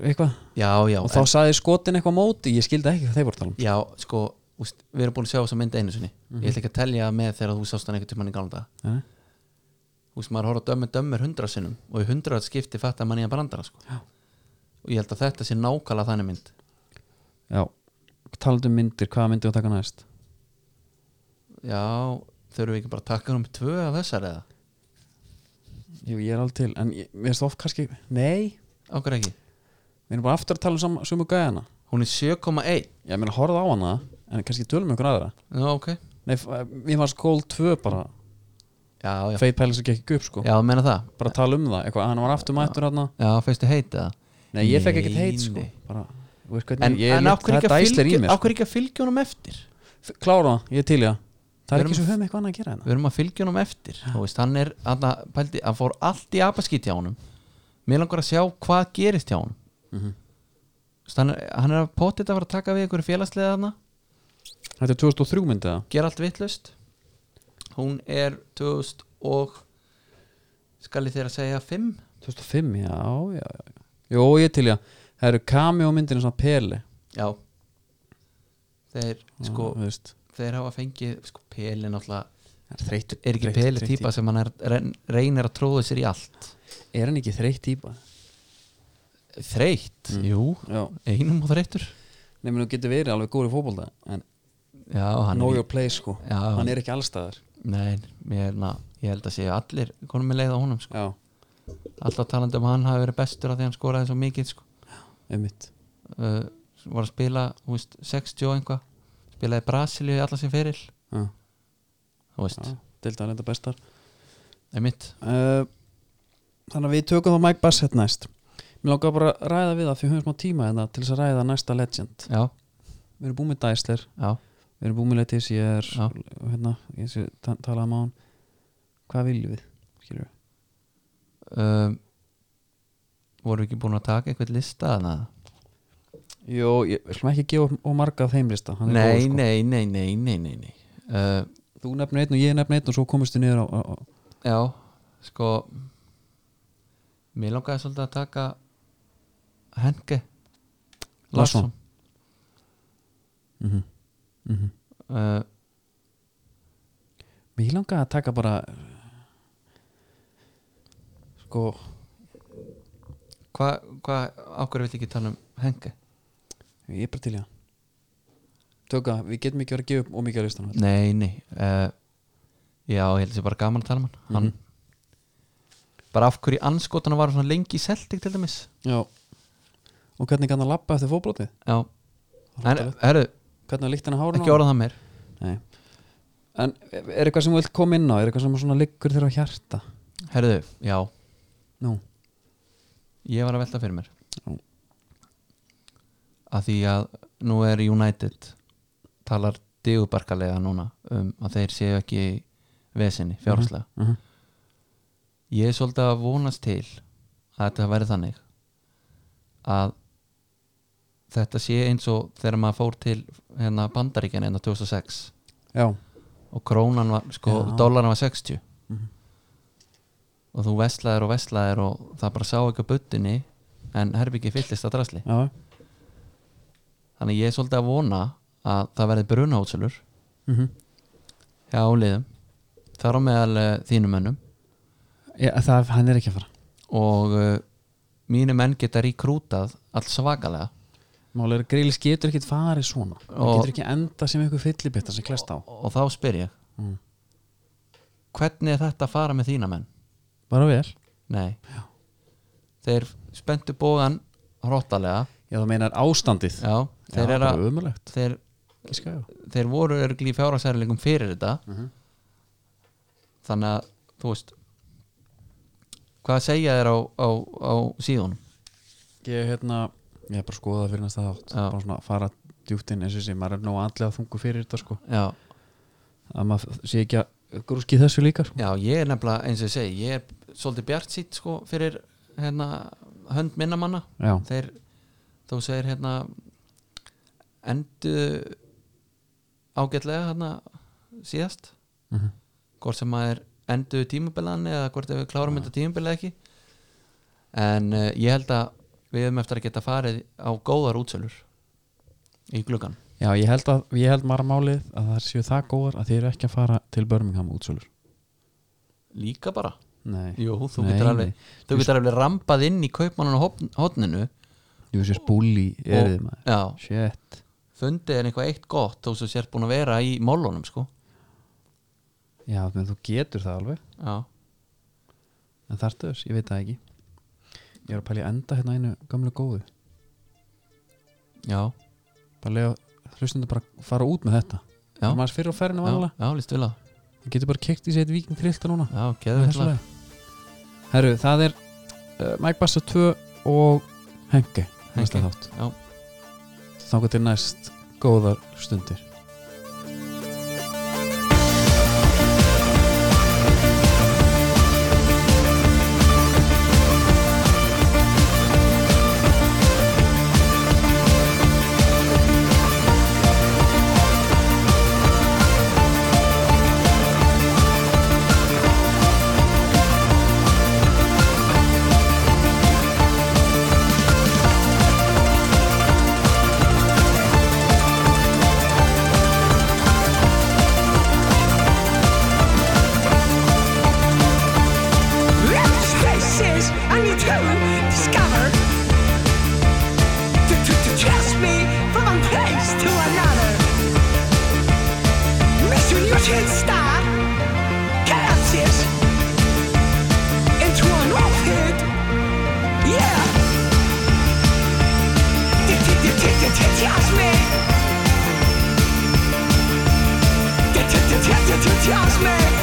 S1: eitthvað,
S2: já, já,
S1: og þá
S2: en,
S1: saði skotin eitthvað á móti, ég skildi ekki hvað þeir voru að tala um
S2: já sko, úst, við erum búin að sjá þess að mynda einu sinni
S1: Mhm.
S2: ég ætla ekki að telja með þegar þú sást hann einhvern tímann í galda
S1: Nei.
S2: þú veist, maður horfði á dömur dömur hundra sinnum og í hundra skipti fattar mann í að brandara sko.
S1: Já.
S2: og ég held að þetta sé nákvæmlega þannig mynd
S1: já, talandi um myndir, hvaða myndir að taka næst
S2: já, þurfum við ekki bara að taka um tvö af þessar eða,
S1: jú, ég er alveg til, en ég, mér finnst oft kannski nei,
S2: ákveð ekki
S1: við erum bara aftur að tala um sam- sömu gæðana
S2: hún er 7,1
S1: ég meina horfða á hana en kannski tölum við ykkur aðra
S2: já, ok,
S1: Nei, f- mér fannst Goal 2 bara
S2: já, já,
S1: Faith Palace gekk ekki upp sko
S2: já, meina það
S1: bara tala um það, eitthvað, hann var aftur mættur hann
S2: já, fyrstu heit eða
S1: Nei, ég fekk
S2: Nei,
S1: ekkert heit sko
S2: nei.
S1: bara, þú veist hvernig,
S2: en,
S1: ég,
S2: en okkur ekki
S1: þetta
S2: að
S1: æslir í
S2: fylgja,
S1: mér sko.
S2: okkur ekki að fylgja honum eftir
S1: F- Klára það, ég er til í það Það er
S2: Við
S1: ekki
S2: erum-
S1: svo höfum eitthvað annað að gera hérna
S2: við erum að fylgja honum eftir þú veist, hann er, hann, pældi, hann fór allt í apaskýt hjá honum mér langar að sjá hvað gerist hjá honum Þú veist, hann, er, hann er að potið að fara að taka við einhverju félagslega þarna
S1: Þetta er 2003 myndið það
S2: gera allt vittlust hún er 2000 og skal ég þér að segja 5
S1: 2005, já, já, já Jó, ég er til í það Það eru kami og myndinu svona peli
S2: já þeir sko,
S1: þú veist
S2: þeir hafa fengið sko, pelin alltaf,
S1: Það er þreytt
S2: er ekki peli típa sem hann er, reynir að tróða sér í allt
S1: Er hann ekki þreytt típa? Mm.
S2: þreytt, jú,
S1: Já
S2: einum og þreyttur
S1: Nei, menn þú getur verið alveg góður í fótbolta en
S2: já, hann
S1: know your place sko
S2: Já.
S1: Hann er ekki allstaðar
S2: nei, mér, na, ég held að séu allir konum með leið á honum sko.
S1: Já,
S2: alltaf talandi um að hann hafi verið bestur af því hann skoraði svo mikið sko.
S1: einmitt
S2: uh, var að spila þú veist, 60 og einhvað spilaði Brasilíu í alla sem feril
S1: Já,
S2: þú veist,
S1: deildar enda bestar
S2: einmitt
S1: uh, Þannig að við tökum þá Mike Bassett næst Mér langar bara að ræða við það fyrir höfum smá tíma en til þess að ræða næsta legend
S2: já,
S1: Við erum búin með Dæsler,
S2: já,
S1: við erum búin með Letis ég er,
S2: Já.
S1: hérna, ég sé ta- talað um á hann Hvað viljum við? Skilur við?
S2: um, voru ekki búin að taka eitthvað lista hana?
S1: Jó, ég við slum ekki að gefa of marga af þeim lista hann er
S2: Nei,
S1: góður, sko.
S2: nei, nei, nei, nei, nei, nei. Uh,
S1: Þú nefnir einn og ég nefnir einn og svo komist þið niður á, á, á
S2: já, sko mér langaði svolítið að taka Henke
S1: Larsson.
S2: Larsson Mhm,
S1: mm -hmm.
S2: uh,
S1: Mér langar að taka bara sko
S2: hvað, hva, ákveður vill ekki tala um hengi?
S1: Ég er bara til í það Töka, við getum ekki verið að gefa upp og mikið að listan
S2: Nei, nei uh, já, ég held að sé bara gaman að tala um hann, hann bara af hverju anskotan var hann svona lengi í Celtic til dæmis
S1: Já Og hvernig kann að lappa eftir fótbrotið?
S2: já, en herru,
S1: Hvernig að líkt hann að hárun
S2: ekki orða það meir
S1: Nei En er eitthvað sem þú vilt koma inn á? Er eitthvað sem svona liggur þér á hjarta?
S2: herru, já,
S1: Nú,
S2: ég var að velta fyrir mér
S1: Já.
S2: að því að nú er United talar digubarkalega núna um að þeir séu ekki í vesinni, fjárhagslega
S1: Mhm.
S2: ég er svolítið að vonast til að þetta verði þannig að þetta sé eins og þegar maður fór til hérna bandaríkjan hérna 2006
S1: já
S2: og krónan var, sko,
S1: Já. Mhm.
S2: dólaran var 60 og þú veslaðir og veslaðir og það bara sá ekki á buddinni en herbyggi fylltist að drasli
S1: já,
S2: þannig ég er svolítið að vona að það verði brunahótselur
S1: mm
S2: hjá liðum þar á meðal uh, þínum mönnum
S1: já það, hann er ekki að fara
S2: og uh, mínu menn geta rekrútað alls svakalega
S1: Mál er að grillis getur ekkit farið svona Hann
S2: Og-
S1: getur ekki enda sem einhver fyllibittar sem klest á
S2: og þá spyr ég
S1: Mm.
S2: hvernig er þetta að fara með þína menn?
S1: Bara vel
S2: Nei þeir spenntu bógan hróttalega
S1: Já, þú meinar ástandið
S2: já, þeir,
S1: já
S2: eru
S1: bara
S2: að,
S1: ömulegt
S2: þeir,
S1: Íska,
S2: þeir voru örgli í fjárhagsærleikum fyrir þetta þannig að þú veist hvað segja þér á, á, á síðun
S1: Ég hérna Ég er bara að skoða fyrir næsta þátt
S2: Já.
S1: Bara svona að fara djúpt inn eins og sé Maður er nóg andlega þungu fyrir þetta sko
S2: já
S1: Að maður sé ekki að grúski þessu líka sko.
S2: Já, ég er nefnilega, eins og ég segi ég er svolítið bjart sýtt sko fyrir hérna, hönd minna manna
S1: Já,
S2: þeir, þó segir hérna endu ágætlega hérna síðast
S1: Mhm.
S2: hvort sem maður endu tímabilan eða hvort ef við klárum
S1: Ah.
S2: þetta tímabilan ekki en uh, ég held að við höfum eftir að geta farið á góðar útsölur í gluggan
S1: Já ég held að Ég held maður að málið að það séu það góðar að þið eru ekki að fara til Birmingham útsölur
S2: líka bara
S1: Nei,
S2: Jú, þú
S1: Nei,
S2: getur
S1: nei.
S2: alveg þú getur alveg rampað inn í kaupmannan og hotninu
S1: jú sér spúli Erið maður
S2: já,
S1: Shit
S2: fundið er eitthvað eitt gott þó sem sér búin að vera í málunum sko
S1: Já, menn þú getur það alveg
S2: já,
S1: En þarftu þess, ég veit það ekki Ég er að pæla í að enda hérna einu gamlu góðu
S2: já,
S1: Bara lega hlustundu bara að fara út með þetta
S2: Já.
S1: Það maður fyrir á ferðinu
S2: já,
S1: vanlega
S2: já líst vilja
S1: Það getur bara keikt í sig eitt viking þrylta núna
S2: já,
S1: Með
S2: geðu
S1: þessu lagi. Herru, það er uh, Mike Bassett 2 og Henke Næsta
S2: Henke,
S1: þátt
S2: já.
S1: Þangar til næst góðar stundir
S9: Let's face it, I need to discover to, to, to trust me from one place to another. Mr. Newton star collapses into an off head. Yeah. T- t- t- t- t- t- Trust me. T- t- t- t- t- t- Trust me.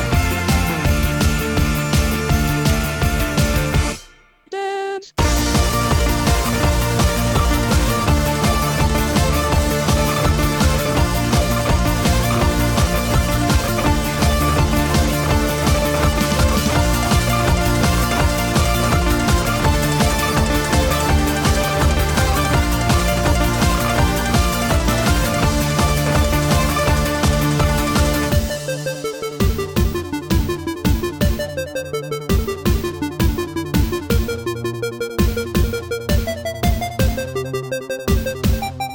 S9: Oh,